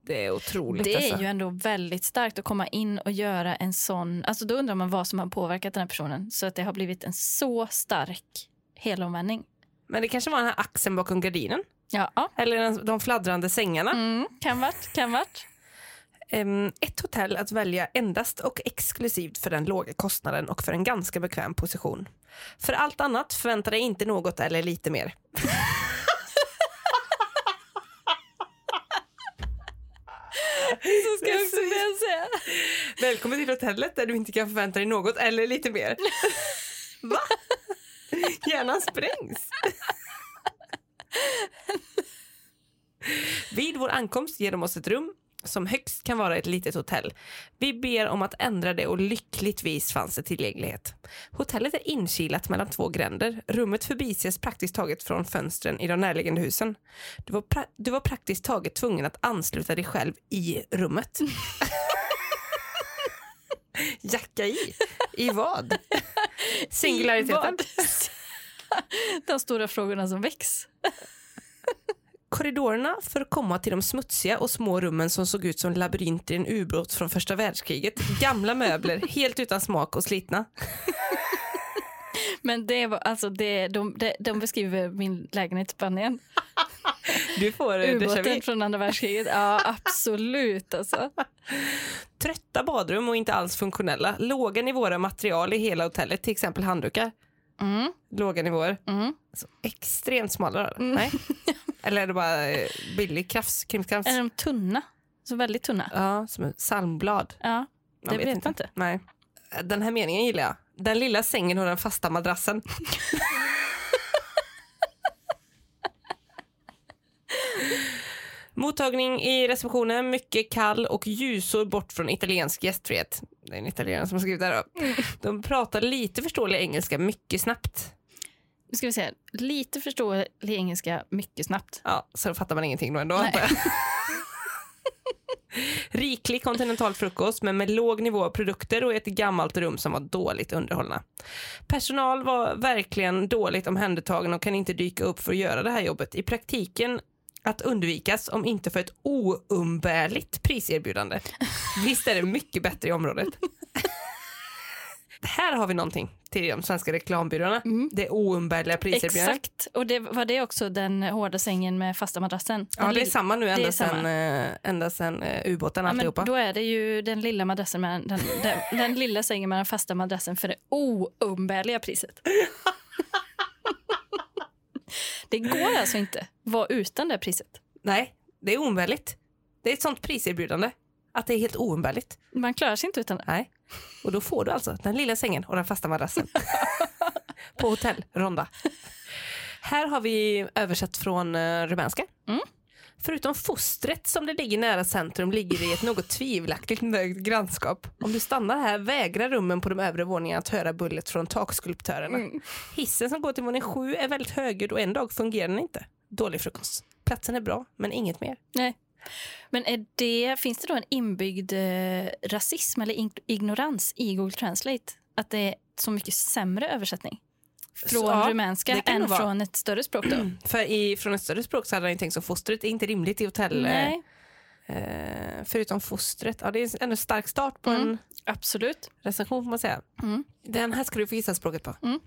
S3: det är otroligt.
S1: Det
S3: alltså.
S1: är ju ändå väldigt starkt att komma in och göra en sån... Alltså då undrar man vad som har påverkat den här personen så att det har blivit en så stark helomvändning.
S3: Men det kanske var den här axeln bakom gardinen.
S1: Ja, ja.
S3: Eller den, de fladdrande sängarna.
S1: Mm, kan vart, kan vart.
S3: Ehm, ett hotell att välja endast och exklusivt för den låga kostnaden och för en ganska bekväm position. För allt annat förväntar dig inte något eller lite mer.
S1: [laughs] Så ska jag också vilja säga.
S3: Välkommen till hotellet där du inte kan förvänta dig något eller lite mer. Va? Hjärnan sprängs. Vid vår ankomst ger de oss ett rum som högst kan vara ett litet hotell. Vi ber om att ändra det och lyckligtvis fanns det tillgänglighet. Hotellet är inkilat mellan två gränder. Rummet förbises praktiskt taget från fönstren i de närliggande husen. Du var, pra- du var praktiskt taget tvungen att ansluta dig själv i [laughs] rummet. Jacka i? I vad? Singulariteten?
S1: De stora frågorna som väcks.
S3: Korridorerna för att komma till de smutsiga och små rummen som såg ut som labyrinter i en ubåt från första världskriget. Gamla [laughs] möbler, helt utan smak och slitna.
S1: Men det var, alltså det, de, de, de beskriver min lägenhet i Spanien.
S3: Du får eh, déjà vu.
S1: Ubåten från andra världskriget. [laughs] Ja, absolut alltså.
S3: Trötta badrum och inte alls funktionella. Låga nivåer av material i hela hotellet, till exempel handdukar.
S1: Mm,
S3: Låga nivåer.
S1: mm.
S3: Alltså, extremt smala rör.
S1: Mm.
S3: [laughs] Nej? Eller är det bara eh, billig krafs, krimskrams?
S1: Är de tunna? Så väldigt tunna?
S3: Ja, som ett salmblad.
S1: Ja,
S3: Man
S1: det vet jag inte.
S3: Nej. Den här meningen gillar jag. Den lilla sängen och den fasta madrassen. [laughs] Mottagning i receptionen, mycket kall och ljusår bort från italiensk gästfrihet. Det är en italienare som har skrivit det här. då.
S1: Mm.
S3: De pratar lite förståelig engelska mycket snabbt.
S1: Nu ska vi se. Lite förståelig engelska mycket snabbt.
S3: Ja, så då fattar man ingenting då ändå.
S1: Nej.
S3: antar jag. [laughs] Riklig kontinental frukost men med låg nivå av produkter och ett gammalt rum som var dåligt underhållna. Personal var verkligen dåligt omhändertagen och kan inte dyka upp för att göra det här jobbet. I praktiken att undvikas om inte för ett oumbärligt priserbjudande. Visst är det mycket bättre i området. [laughs] här har vi någonting till de svenska reklambyråerna. Det oumbärliga priserbjudandet.
S1: Exakt. Och det, var det också den hårda sängen med fasta madrassen? Den
S3: Ja, det är
S1: lilla-
S3: samma nu
S1: det är
S3: ända
S1: samma.
S3: sen, eh, ända sen eh, ubåten
S1: Ja, men
S3: alltihopa.
S1: då är det ju den lilla madrassen med den, den, den lilla sängen med den fasta madrassen för det oumbärliga priset. [laughs] Det går alltså inte vara utan det priset.
S3: Nej, det är oumbärligt. Det är ett sånt priserbjudande. Att det är helt oumbärligt.
S1: Man klarar sig inte utan det.
S3: Nej. Och då får du alltså den lilla sängen och den
S1: [laughs]
S3: fasta madrassen. På hotell Ronda. Här har vi översatt från uh, rumänska.
S1: Mm.
S3: Förutom fostret som det ligger nära centrum ligger det i ett något tvivelaktigt mörkt grannskap. Om du stannar här vägrar rummen på de övre våningarna att höra bullret från takskulptörerna. Hissen som går till våning sju är väldigt högljudd och en dag fungerar den inte. Dålig frukost. Platsen är bra, men inget mer.
S1: Nej. Men är det, finns det då en inbyggd eh, rasism eller ig- ignorans i Google Translate? Att det är så mycket sämre översättning från
S3: Så, ja,
S1: rumänska
S3: det kan
S1: än
S3: nog vara.
S1: från ett större språk? Då?
S3: För i, från ett större språk så hade han ju tänkt så fostret är inte rimligt i hotell.
S1: Nej,
S3: Eh, förutom fostret. Ja, det är ändå en stark start på
S1: Mm.
S3: en
S1: absolut.
S3: recension får man säga.
S1: Mm.
S3: Den här ska du få gissa språket på.
S1: Mm.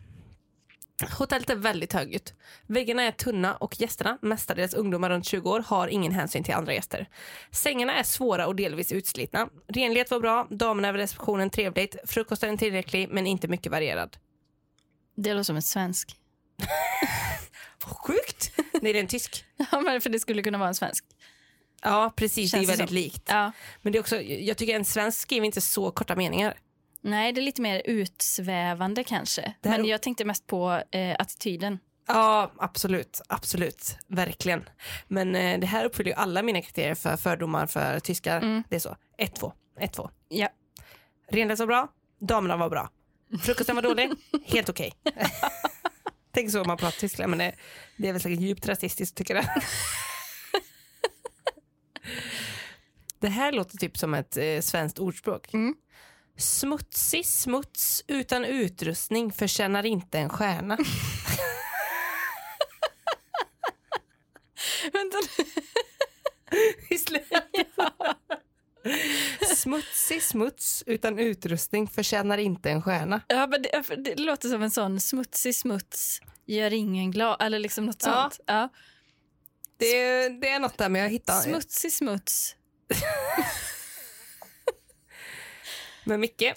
S3: Hotellet är väldigt högljutt. Väggarna är tunna och gästerna, mestadels ungdomar runt 20 år, har ingen hänsyn till andra gäster. Sängarna är svåra och delvis utslitna. Renlighet var bra, damerna vid receptionen trevligt, frukosten tillräcklig men inte mycket varierad.
S1: Det låter som en svensk.
S3: Vad sjukt! [laughs] Nej, det är en tysk.
S1: Ja, men för det skulle kunna vara en svensk.
S3: Ja, precis.
S1: Känns
S3: det
S1: det
S3: är väldigt likt.
S1: Ja.
S3: Men det är också, jag tycker en svensk skriver inte så korta meningar.
S1: Nej, det är lite mer utsvävande kanske.
S3: Det här-
S1: Men jag tänkte mest på eh, attityden.
S3: Ja, absolut. Absolut. Verkligen. Men eh, det här uppfyller ju alla mina kriterier för fördomar för tyskar.
S1: Mm.
S3: Det är så. 1-2. 1-2.
S1: Ja.
S3: Renlighet var bra. Damerna var bra. Frukosten
S1: [laughs]
S3: var dålig. Helt okej. [laughs] Tänk så om man pratar tyska, men det, det är väl säkert djupt rasistiskt
S1: [laughs]
S3: tycker jag. det här låter typ som ett eh, svenskt ordspråk.
S1: Mm.
S3: Smutsig smuts utan utrustning förtjänar inte en stjärna.
S1: [laughs] Vänta nu.
S3: Visst lät det? [laughs] Smutsig smuts utan utrustning förtjänar inte en stjärna.
S1: Ja, men det, för det låter som en sån smutsig smuts gör ingen glad, eller liksom något
S3: Ja.
S1: sånt. Ja.
S3: Det är, det är något där med att hitta.
S1: Smutsig smuts.
S3: Men Micke,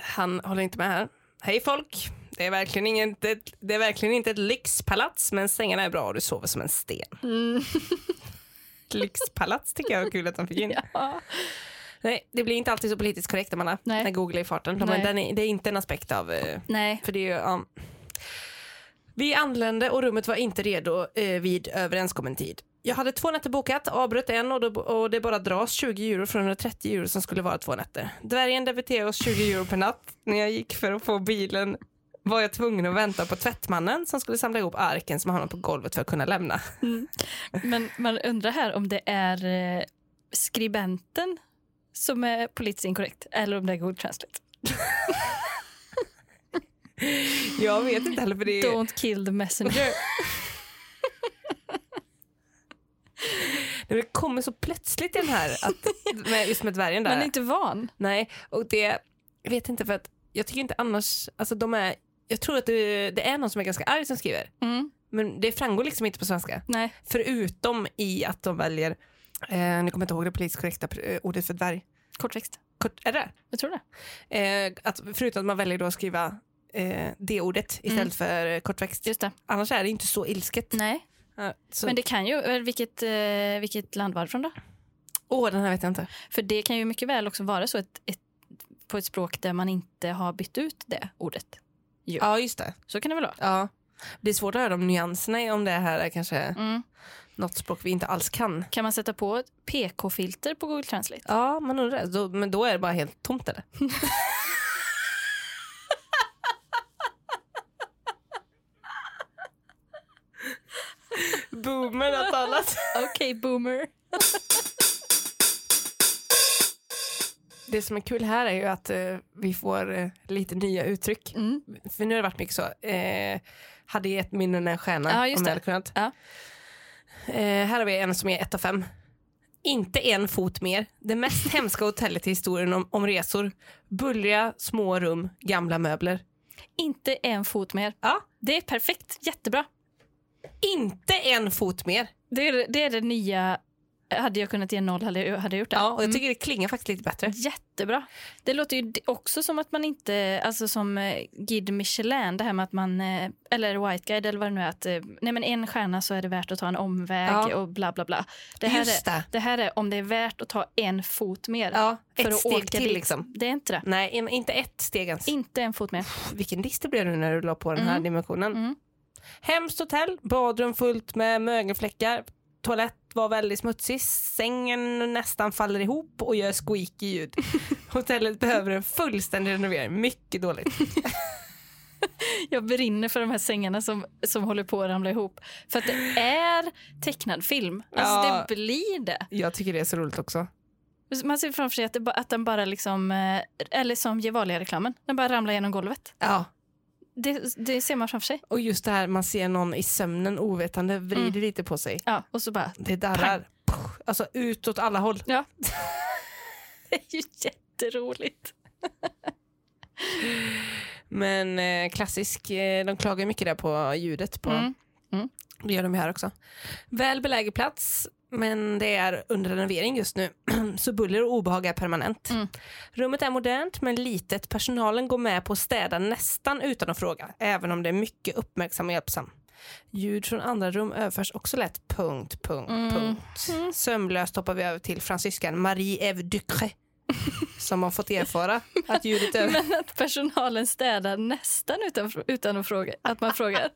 S3: han håller inte med här. Hej folk! Det är verkligen, inget, det, det är verkligen inte ett lyxpalats, men sängarna är bra och du sover som en sten. [laughs] lyxpalats tycker jag var kul att han fick in.
S1: Ja.
S3: Nej, det blir inte alltid så politiskt korrekt Amanda,
S1: Nej.
S3: när Google är i farten.
S1: Nej.
S3: Men den är, det är inte en aspekt av... eh,
S1: Nej.
S3: För det är ju, ja. Vi anlände och rummet var inte redo eh, vid överenskommen tid. Jag hade två nätter bokat, avbröt en och, då, och det bara dras 20 euro från 130 euro som skulle vara två nätter. Dvärgen debiterade oss 20 euro per natt. När jag gick för att få bilen var jag tvungen att vänta på tvättmannen som skulle samla ihop arken som hamnade på golvet för att kunna lämna.
S1: Men man undrar här om det är eh, skribenten som är politiskt inkorrekt eller om det är Google Translate.
S3: Jag vet inte heller för det är...
S1: Don't kill the [laughs] messenger.
S3: [laughs] Det kommer så plötsligt i den här, att, med, just med dvärgen där.
S1: Man är inte van.
S3: Nej, och det jag vet inte för att jag tycker inte annars, alltså de är, jag tror att det, det är någon som är ganska arg som skriver.
S1: Mm.
S3: Men det framgår liksom inte på svenska.
S1: Nej.
S3: Förutom i att de väljer, eh, nu kommer jag inte ihåg det politiskt korrekta eh, ordet för dvärg.
S1: Kortväxt.
S3: Kort, är det?
S1: Jag tror det.
S3: Eh, att, förutom att man väljer då att skriva eh, det ordet istället
S1: Mm.
S3: för eh, kortväxt.
S1: Just det.
S3: Annars är det inte så ilsket.
S1: Nej.
S3: Ja, så,
S1: Men det kan ju, eller vilket, eh, vilket land var det från då?
S3: Åh, den här vet jag inte.
S1: För det kan ju mycket väl också vara så ett, ett, på ett språk där man inte har bytt ut det ordet. Jo.
S3: Ja, just det.
S1: Så kan det väl vara?
S3: Ja. Det är svårt att höra de nyanserna i om det här är kanske
S1: Mm.
S3: något språk vi inte alls kan.
S1: Kan man sätta på ett PK-filter på Google Translate?
S3: Ja, man undrar. Då, men då är det bara helt tomt eller? Boomer har talat.
S1: Okej, boomer.
S3: Det som är kul här är ju att eh, vi får eh, lite nya uttryck.
S1: Mm.
S3: För nu har det varit mycket så. Eh, hade gett minnen en stjärna
S1: Ja, just
S3: om
S1: det.
S3: jag hade kunnat.
S1: Ja.
S3: Eh, här har vi en som är ett av fem. Inte en fot mer.
S1: [laughs]
S3: Det mest hemska hotellet i historien om, om resor. Bullriga, små rum, gamla möbler.
S1: Inte en fot mer.
S3: Ja.
S1: Det är perfekt. Jättebra.
S3: Inte en fot mer.
S1: Det är det, är det nya. Hade jag kunnat ge noll hade jag, hade jag gjort det.
S3: Ja, och jag
S1: Mm.
S3: tycker det klingar faktiskt lite bättre.
S1: Jättebra. Det låter ju d- också som att man inte, alltså som eh, Guide Michelin, det här med att man, eh, eller White Guide eller vad det nu är, att eh, nej men en stjärna så är det värt att ta en omväg
S3: Ja.
S1: och bla bla bla. Det här, är,
S3: Just det.
S1: det här är om det är värt att ta en fot mer
S3: Ja,
S1: för
S3: ett
S1: att
S3: steg
S1: åka
S3: till
S1: dit.
S3: liksom.
S1: Det är inte det.
S3: Nej, en- inte ett steg ens.
S1: Inte en
S3: [laughs]
S1: fot mer.
S3: Vilken diss det blev nu när du la på den här
S1: Mm.
S3: dimensionen.
S1: Mm.
S3: Hemskt hotell, badrum fullt med mögelfläckar. Toalett var väldigt smutsig, sängen nästan faller ihop och gör
S1: [laughs]
S3: squeaky ljud. Hotellet behöver en fullständig renovering, mycket dåligt.
S1: Jag brinner för de här sängarna som, som håller på att ramla ihop. För att det är tecknad film. Alltså
S3: Ja.
S1: det blir det.
S3: Jag tycker det är så roligt också.
S1: Man ser framför sig att, det, ba- att den bara liksom, eh, eller som Gevalia-reklamen, den bara ramlar genom golvet.
S3: Ja,
S1: Det, det ser man framför sig.
S3: och just det här man ser någon i sömnen ovetande vrider
S1: Mm.
S3: lite på sig.
S1: Ja, och så bara... [laughs]
S3: Det darrar. Puh, Alltså utåt alla håll.
S1: Ja. det är ju jätteroligt.
S3: Men eh, klassisk, eh, de klagar mycket där på ljudet. På,
S1: Mm.
S3: Det gör de ju här också. Väl belägen plats, men det är under renovering just nu. [clears throat] Så buller och obehag är permanent.
S1: Mm.
S3: Rummet är modernt men litet. Personalen går med på att städa nästan utan att fråga, även om det är mycket uppmärksam och hjälpsam. Ljud från andra rum överförs också lätt. Punkt, punkt,
S1: Mm.
S3: punkt. Sömlöst hoppar vi över till fransyskan Marie-Ève Ducré som har fått erfara att ljudet över...
S1: [laughs] Men att personalen städar nästan utan, utan att fråga. Att man
S3: [laughs]
S1: frågar.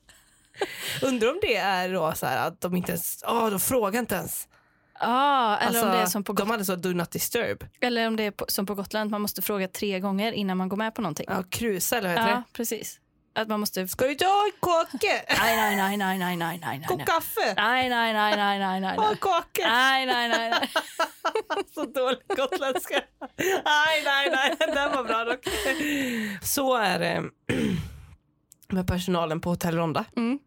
S3: Undrar om det är då så här att de inte ens... Åh, de frågar inte ens.
S1: Ah, eller, om
S3: Alltså,
S1: det är som på
S3: de
S1: Got-
S3: hade så do not disturb.
S1: eller om det är på, som på Gotland, man måste fråga tre gånger innan man går med på någonting.
S3: Ja, krusa eller vad heter
S1: Ja,
S3: det?
S1: precis. Att man måste...
S3: Ska du inte ha en kake?
S1: [laughs] Nej, nej, nej, nej, nej, nej, nej, nej.
S3: Koka kaffe?
S1: Nej, nej, nej, nej, nej, nej.
S3: Ha
S1: nej.
S3: en kaka?
S1: Nej, nej, nej,
S3: [laughs]
S1: nej.
S3: Så dålig gotländska. Nej, nej, nej, den var bra dock. Så är det [clears throat] med personalen på Hotell Ronda.
S1: Mm.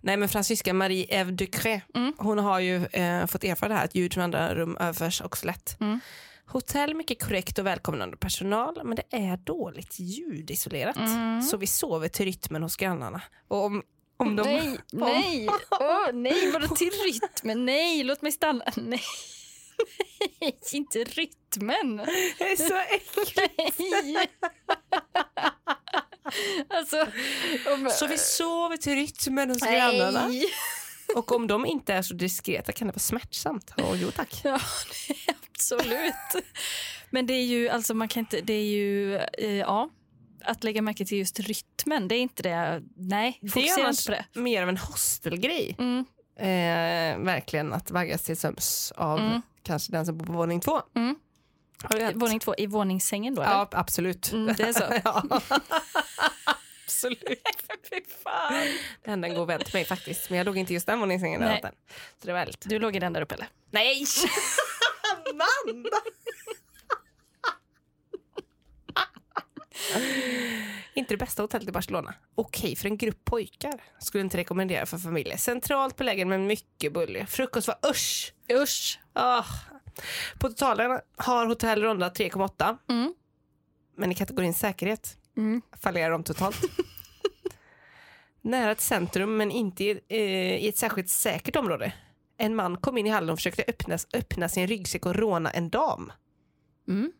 S3: Nej, men fransyska Marie-Ève Ducré,
S1: Mm.
S3: hon har ju eh, fått erfara det här att ljud från andra rum överförs också lätt.
S1: Mm.
S3: Hotell, mycket korrekt och välkomnande personal, men det är dåligt ljudisolerat.
S1: Mm.
S3: Så vi sover till rytmen hos grannarna. Och om, om [laughs] de...
S1: Nej, nej, åh, nej, vadå till rytmen? Nej, låt mig stanna. [laughs] Nej, nej inte rytmen.
S3: [laughs] Det är så äckligt.
S1: Nej. Alltså, om,
S3: Så vi sover till rytmen hos grannarna.
S1: nej.
S3: Och om de inte är så diskreta kan det vara smärtsamt. Oh, jo tack.
S1: Ja, [laughs] nej, absolut. Men det är ju, alltså man kan inte, det är ju, eh, ja. Att lägga märke till just rytmen, det är inte det. Nej, fokusera inte på det.
S3: mer av en hostelgrej.
S1: Mm,
S3: Eh, verkligen att vaggas till sömns av
S1: Mm.
S3: kanske den som bor på våning två.
S1: mm.
S3: Har du
S1: Våning två, i våningssängen då? eller?
S3: Ja, absolut.
S1: Mm, det är så.
S3: [laughs]
S1: [laughs]
S3: ja. absolut. Den, den går vänt mig faktiskt. Men jag låg inte just den våningssängen.
S1: Nej.
S3: där åt den. Så det var lite...
S1: Du låg i den där uppe eller? [laughs]
S3: Nej! Amanda! inte det bästa hotellet i Barcelona. Okej för en grupp pojkar. Skulle inte rekommendera för familjer. Centralt belägen men mycket buller. Frukost var usch!
S1: Usch.
S3: Ah. På totalen har Hotell Ronda 3,8.
S1: Mm.
S3: Men i kategorin säkerhet fallerar
S1: [laughs]
S3: de totalt. Nära ett centrum men inte i, eh, i ett särskilt säkert område. En man kom in i hallen och försökte öppna, öppna sin ryggsäck och råna en dam.
S1: Mm.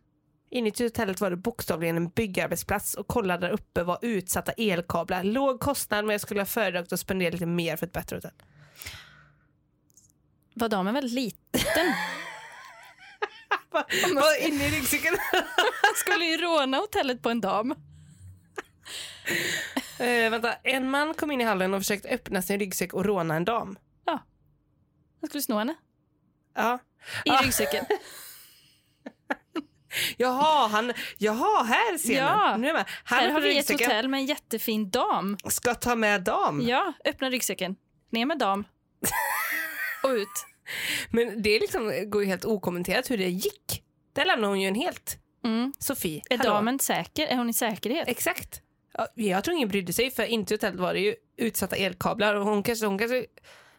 S3: Inuti hotellet var det bokstavligen en byggarbetsplats och kollade där uppe var utsatta elkablar. Låg kostnad men jag skulle ha föredragit att spendera lite mer för ett bättre hotell.
S1: Var damen väldigt liten? [laughs]
S3: Var inne i ryggsäcken.
S1: Han skulle ju råna hotellet på en dam.
S3: [laughs] eh, vänta, en man kom in i hallen och försökte öppna sin ryggsäck och råna en dam.
S1: Han skulle sno henne
S3: Ja.
S1: i
S3: Ah. [laughs]
S1: ryggsäcken.
S3: Jaha, han, jaha, här ser
S1: Ja.
S3: ni. Nu är jag med. Han
S1: Här har
S3: öppnar
S1: vi ett
S3: ryggsäcken. Mm.
S1: hotell med en jättefin dam.
S3: Ska ta med dam.
S1: Ja, öppna ryggsäcken. Ner med
S3: [laughs]
S1: dam. Och ut.
S3: Men det liksom går ju helt okommenterat hur det gick. Där lämnar hon ju en helt.
S1: Mm.
S3: Sofie,
S1: Är
S3: hallå.
S1: damen säker? Är hon i säkerhet?
S3: Exakt. Ja, Jag tror ingen brydde sig för inte hotellet var det ju utsatta elkablar och hon kanske, hon kanske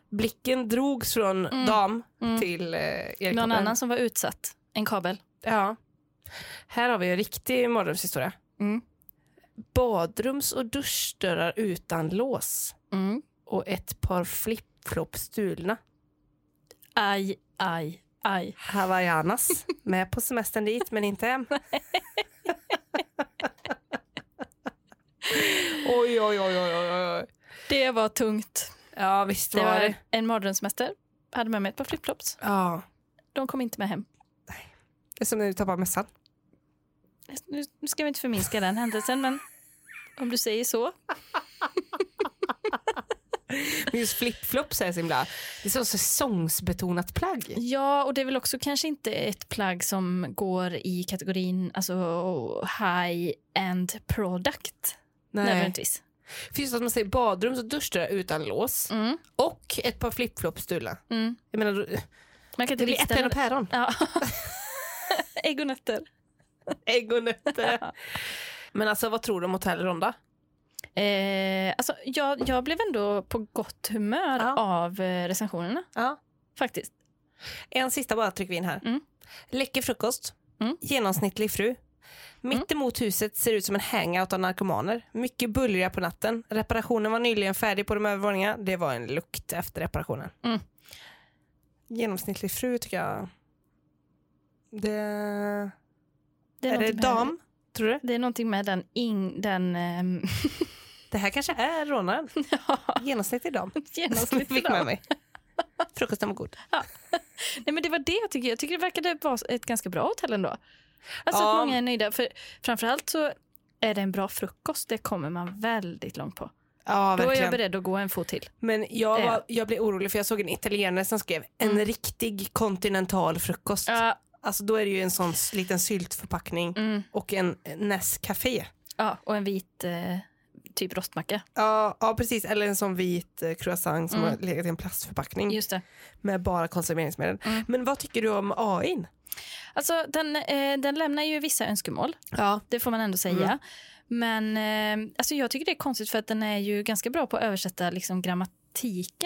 S3: blicken drogs från
S1: Mm.
S3: dam
S1: Mm.
S3: till eh, elkablar.
S1: Någon annan som var utsatt? En kabel?
S3: Ja. Här har vi en riktig mardrömshistoria.
S1: Mm.
S3: Badrums och duschdörrar utan lås
S1: Mm.
S3: och ett par flip-flop stulna.
S1: Aj, aj, aj.
S3: Havajanas. Med på semestern dit, men inte hem. [laughs] oj, oj, oj, oj, oj, oj.
S1: Det var tungt.
S3: Ja, visst
S1: Det
S3: var
S1: var
S3: det.
S1: en mardrömsmästare. Hade med mig ett par flipflops.
S3: Ja.
S1: De kom inte med hem.
S3: Det är som när du tappar mössan.
S1: Nu nu ska vi inte förminska den händelsen, men om du säger så.
S3: Men just flipflops är så himla... Det är så säsongsbetonat plagg.
S1: Ja, och det är väl också kanske inte ett plagg som går i kategorin alltså high-end product nödvändigtvis.
S3: Finns det att man säger badrums och duschdörrar utan lås
S1: Mm,
S3: och ett par flipflops stulna.
S1: mm.
S3: Jag menar, då-
S1: Man kan
S3: det
S1: inte
S3: blir
S1: likställa
S3: äpplen och päron.
S1: Ja. [laughs] Ägg och nötter.
S3: Ägg och nötter. [laughs] Men alltså, vad tror du om Hotell Ronda?
S1: Eh, alltså, jag, jag blev ändå på gott humör
S3: Ja.
S1: av eh, recensionerna,
S3: Ja.
S1: faktiskt.
S3: En sista bara trycker vi in här.
S1: Mm.
S3: Läcker frukost.
S1: Mm.
S3: Genomsnittlig fru. Mitt emot huset ser ut som en hangout av narkomaner. Mycket bullriga på natten. Reparationen var nyligen färdig på de övervåningarna. Det var en lukt efter reparationen.
S1: Mm.
S3: Genomsnittlig fru tycker jag. Det... Är,
S1: Det
S3: det
S1: någonting med-
S3: dam? Tror du?
S1: Det är någonting med den, in, den ehm, [laughs]
S3: Det här kanske är rånaren. Genomsnittlig dam.
S1: Genomsnittlig
S3: Fick
S1: dam. [laughs]
S3: med mig. Frukosten var god.
S1: Nej, men det var det jag tycker. Jag tycker det verkade vara ett ganska bra hotell ändå. Alltså
S3: Ja.
S1: att många är nöjda. För framförallt så är det en bra frukost. Det kommer man väldigt långt på.
S3: Ja,
S1: Då är jag beredd att gå en fot till.
S3: Men jag,
S1: Ja. Mm.
S3: var, jag blev orolig för jag såg en italienare som skrev en riktig kontinental frukost.
S1: Ja,
S3: Alltså då är det ju en sån s- liten syltförpackning
S1: mm,
S3: och en Nescafé.
S1: ja, och en vit eh, typ rostmacka.
S3: Ja, ja, precis. Eller en sån vit eh, croissant som
S1: Mm.
S3: har legat i en plastförpackning
S1: Just det.
S3: med bara konserveringsmedel.
S1: Mm.
S3: Men vad tycker du om AIn?
S1: Alltså, den, eh, den lämnar ju vissa önskemål.
S3: Ja. Mm.
S1: Det får man ändå säga. Men eh, alltså jag tycker det är konstigt för att den är ju ganska bra på att översätta liksom, grammatiken.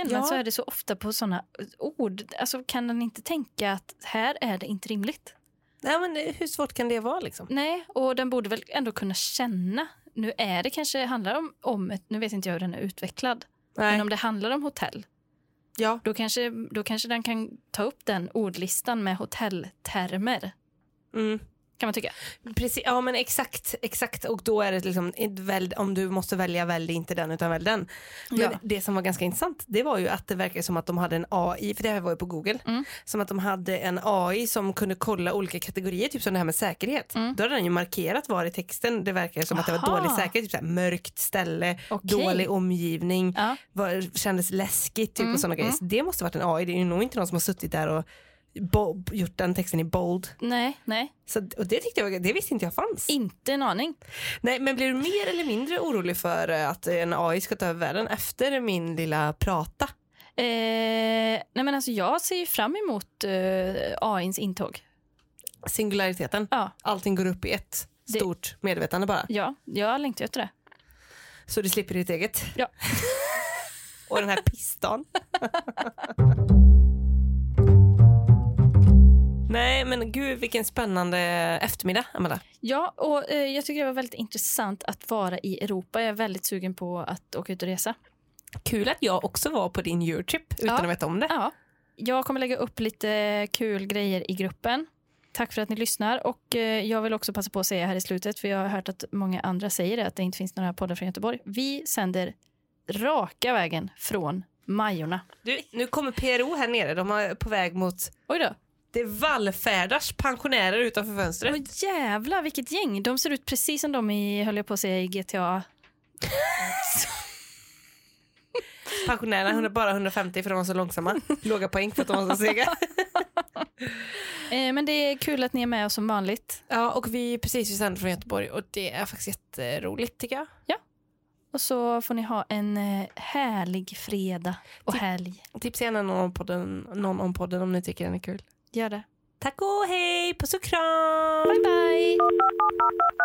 S1: Men
S3: Ja.
S1: så är det så ofta på sådana ord. Alltså, kan den inte tänka att här är det inte rimligt?
S3: Nej, men det- hur svårt kan det vara liksom?
S1: Nej, och den borde väl ändå kunna känna. Nu är det kanske handlar om, om ett, nu vet inte jag hur den är utvecklad, men
S3: Nej.
S1: om det handlar om hotell,
S3: Ja.
S1: då kanske, då kanske den kan ta upp den ordlistan med hotelltermer,
S3: Mm.
S1: kan man tycka.
S3: Precis, ja men exakt, exakt. Och då är det liksom, ett väl, om du måste välja, välj inte den utan välj den. Men
S1: Ja.
S3: det som var ganska intressant, det var ju att det verkar som att de hade en AI, för det här var ju på Google,
S1: Mm.
S3: som att de hade en AI som kunde kolla olika kategorier, typ som det här med säkerhet.
S1: Mm.
S3: Då hade den ju markerat var i texten det verkar som att det var
S1: Aha.
S3: dålig säkerhet, typ så här, mörkt ställe,
S1: Okej.
S3: dålig omgivning,
S1: Ja.
S3: var, kändes läskigt typ,
S1: Mm,
S3: och sådana
S1: mm.
S3: grejer. Så det måste varit en AI, det är ju nog inte någon som har suttit där och bo- gjort den texten i bold.
S1: Nej, nej,
S3: Så, och det, tyckte jag, det visste inte jag fanns.
S1: inte en aning.
S3: Nej, men blir du mer eller mindre orolig för eh, att en AI ska ta över världen efter min lilla prata?
S1: Eh, nej men alltså jag ser ju fram emot eh, AIns intåg.
S3: Singulariteten.
S1: Ja,
S3: Allting går upp i ett
S1: Det-
S3: stort medvetande bara.
S1: ja jag längtar ju efter det.
S3: Så du slipper ditt eget.
S1: Ja.
S3: [laughs] Och den här pistan. [laughs] Nej, men gud vilken spännande eftermiddag, Amanda.
S1: Ja, och eh, jag tycker det var väldigt intressant att vara i Europa. Jag är väldigt sugen på att åka ut och resa.
S3: Kul att jag också var på din Eurotrip utan
S1: Ja.
S3: att veta om det.
S1: Ja, jag kommer lägga upp lite kul grejer i gruppen. Tack för att ni lyssnar. Och eh, jag vill också passa på att säga här i slutet, för jag har hört att många andra säger det, att det inte finns några poddar från Göteborg. Vi sänder raka vägen från Majorna.
S3: Du, nu kommer PRO här nere. De är på väg mot...
S1: Oj då.
S3: Det vallfärdas pensionärer utanför fönstret.
S1: Åh jävlar vilket gäng. De ser ut precis som de i, höll jag på att säga, i GTA.
S3: Pensionärerna hund- bara 150 för de var så långsamma. Låga poäng för att de var så sega.
S1: Eh, men det är kul att ni är med oss som vanligt.
S3: [laughs] Ja, och vi precis vi sänder från Göteborg och det är faktiskt jätteroligt tycker jag.
S1: Och så får ni ha en eh, härlig fredag och helg.
S3: Tipsa gärna någon om podden, någon om, podden om ni tycker den är kul.
S1: Gör det.
S3: Tack och hej, puss och kram!
S1: Bye bye!